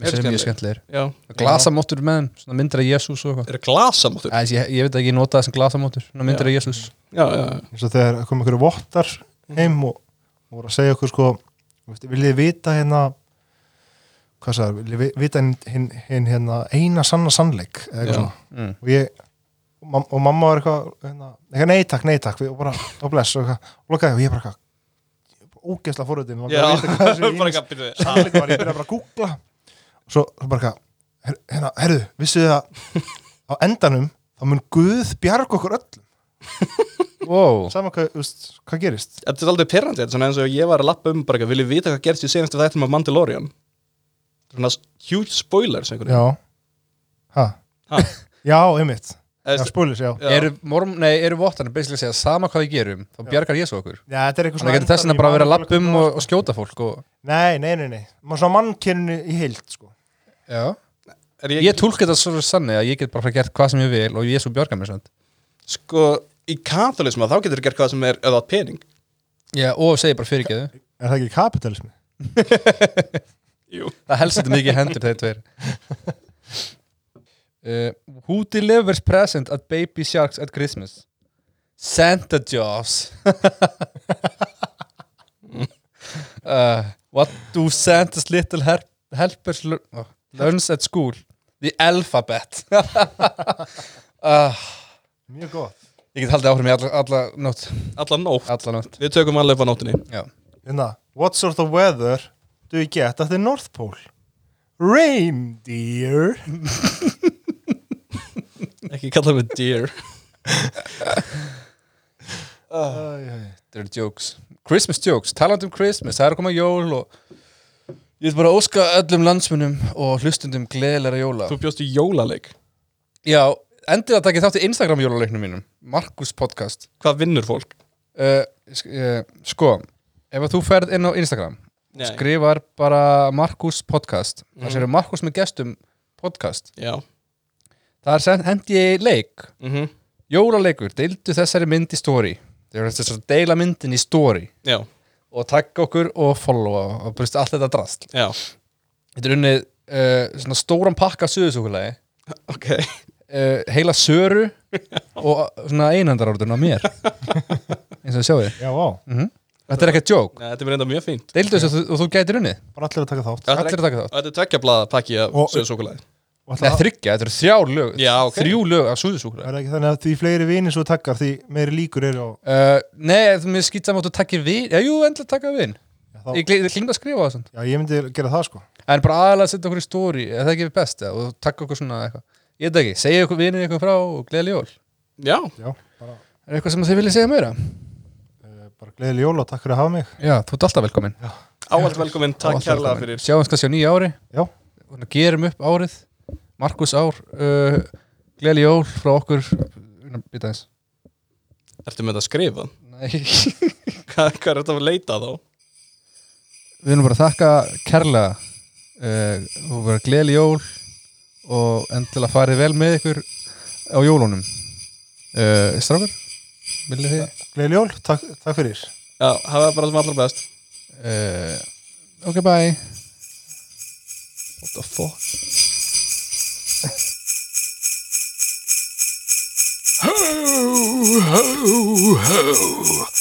Speaker 1: Mér
Speaker 2: Eru
Speaker 1: finnst þeir mjög
Speaker 2: skemmtilegir.
Speaker 1: skemmtlegir
Speaker 2: Já,
Speaker 1: Glasamóttur með þeim, svona myndir af Jésús og eitthvað
Speaker 2: er glasamóttur
Speaker 1: Æ, Ég, ég veit ekki, ég nota það sem glasamóttur Svona myndir af Jésús
Speaker 2: Já, já, já.
Speaker 3: eins og þegar kom einhverju vottar heim og, og voru að segja okkur sko, þú veist, viljið þið vita hérna hvað sagði, viljið vi- vita hinn hin, hin, hérna eina sanna sannleik eða
Speaker 2: Já.
Speaker 3: eitthvað svona
Speaker 1: Mm.
Speaker 3: og ég og, mam, og mamma var eitthvað, hérna, eitthvað nei takk, nei takk við- og bara, og bless og, eitthvað, og lokaði og ég bara eitthvað ógeðsla fóruðin og
Speaker 2: Já,
Speaker 3: bara vita hvað þessi
Speaker 2: bara
Speaker 3: eina
Speaker 2: gappið við
Speaker 3: sannleik var, ég byrjaði bara að googla og svo, svo bara eitthvað her, hérna, herðu, vissuð þið að á endanum, þá mun Guð bjarga okkur öll
Speaker 1: Wow
Speaker 3: saman hvað, þú veist, hvað gerist
Speaker 2: Þetta er aldrei pyrrandi, þetta er svona eins og ég var að lappa um bara eitthvað, viljið vita hvað gerst í senastu þættum af Mandalorian Svona s- huge spoilers einhverju
Speaker 3: Já ha.
Speaker 2: Ha.
Speaker 3: Já, einmitt Já,
Speaker 2: Eða,
Speaker 3: spólis, já
Speaker 2: Já.
Speaker 1: Eru, morm, nei, eru vottarnir basically að segja sama hvað við gerum þá bjargar Jésu okkur
Speaker 3: Já, þetta er eitthvað
Speaker 1: þannig að þess vegna
Speaker 3: endanum í
Speaker 1: bara að vera að
Speaker 3: manual-
Speaker 1: lappa um og, og skjóta fólk og,
Speaker 3: Nei, nei, nei, nei Má svona mannkyninu í heild, sko
Speaker 2: er ég,
Speaker 1: ég tólka þetta svo sannig að ég get bara gert hvað sem ég vil og Jésu bjargar mér svend
Speaker 2: Sko, í katholismu þá getur þú gert hvað sem er eða átt pening
Speaker 1: Já, og segi bara fyrirgeðu
Speaker 3: Er það ekki kapitalismi?
Speaker 2: Jú
Speaker 1: það helst þetta mikið í hendur þeir tveir uh, Who delivers present at baby sharks at Christmas? Santa Jaws uh, What do Santa's little her helpers lear- oh, learns at school? The alphabet uh,
Speaker 3: Mjög gott
Speaker 1: Ég get haldið áhrif í alla, alla nótt
Speaker 2: Allan nótt
Speaker 1: Alla nótt
Speaker 2: Við tökum alveg upp á nóttinni
Speaker 1: Já.
Speaker 3: Inna, Hérna, What sort of weather do you get at the North Pole? Reindeer
Speaker 2: Ekki kalla mig dear
Speaker 3: Æ, æ, æ.
Speaker 1: Þetta eru jokes Christmas jokes, talandi um Christmas Það er að koma jól og Ég vil bara óska öllum landsmunum og hlustundum gleðilega jóla
Speaker 2: Þú bjóst í jólaleik
Speaker 1: Já, endilega takið þátt í Instagram jólaleiknum mínum Markus podcast
Speaker 2: Hvað vinnur fólk?
Speaker 1: uh, sk uh, Sko, ef að þú ferð inn á Instagram
Speaker 2: Nei.
Speaker 1: skrifar bara Markus podcast það séu Markus með gestum podcast
Speaker 2: Já
Speaker 1: þar send- hendi ég leik
Speaker 2: mm -hmm.
Speaker 1: jólaleikur, deildu þessari mynd í story þeir eru þess að deila myndin í story
Speaker 2: Já,
Speaker 1: og takk okkur og followa og brust allt þetta drast
Speaker 2: já
Speaker 1: þetta er unnið uh, svona stóran pakka suðusúkulegi
Speaker 2: Ok
Speaker 1: uh, heila söru og uh, svona einandarorðun á mér eins og sjáu
Speaker 3: Já, vá
Speaker 1: þetta er ekkert jók,
Speaker 2: Nei, þetta er reynda mjög fínt
Speaker 1: deildu þessu og þú- og þú gætir unnið
Speaker 3: Bara allir að taka þátt
Speaker 1: allir að taka þátt
Speaker 2: Og þetta er tvekja blaða pakki af
Speaker 3: Og-
Speaker 2: söðsókulæði
Speaker 3: Og ætla
Speaker 1: Nei,
Speaker 3: að-
Speaker 1: þryggja, þetta eru þrjá lög
Speaker 2: Já, ok.
Speaker 1: þrjú lög af suðusúkulegi
Speaker 3: Er það ekki þannig að því fleiri vini svo takkar því meiri líkur eru á
Speaker 1: uh, nei, þú mér skýt saman að þú takkir vin já, jú, endla taka vin
Speaker 3: Já, þá-
Speaker 1: ég klingd að skrifa það svona.
Speaker 3: Já, ég myndi gera það, sko
Speaker 1: en bara aðalega að setja okkur í stóri er það ekki best, eða? og takk okkur svona eitthvað ég veit það ekki, segja okkur vinir eitthvað frá og gleðli jól
Speaker 2: Já,
Speaker 3: Já, bara,
Speaker 1: er eitthvað sem þið viljið segja meira?
Speaker 3: uh, bara gleðileg jól og takk fyrir að hafa mig
Speaker 1: já, þú ert alltaf velkomin
Speaker 2: áallt velkominn, takk
Speaker 1: Ávallt
Speaker 2: kærlega
Speaker 1: velkomin.
Speaker 2: fyrir
Speaker 1: sjáumst kannski á nýja ári
Speaker 3: Já,
Speaker 1: Þannig að gerum upp árið Markus ár uh, Gleðli jól frá okkur Býta eins
Speaker 2: Ertu með þetta að skrifa?
Speaker 1: Nei.
Speaker 2: Hvað hvað er þetta að leita þá?
Speaker 1: Við erum bara að þakka kærlega uh, og bara gleðli jól og endilega farið vel með ykkur á jólunum uh, Strákar, viljið þið
Speaker 3: Gleil Jól, takk, takk fyrir
Speaker 2: Já, hafa það bara sem allra best
Speaker 1: uh, Ok, bye What the fuck
Speaker 5: Ho, ho, ho.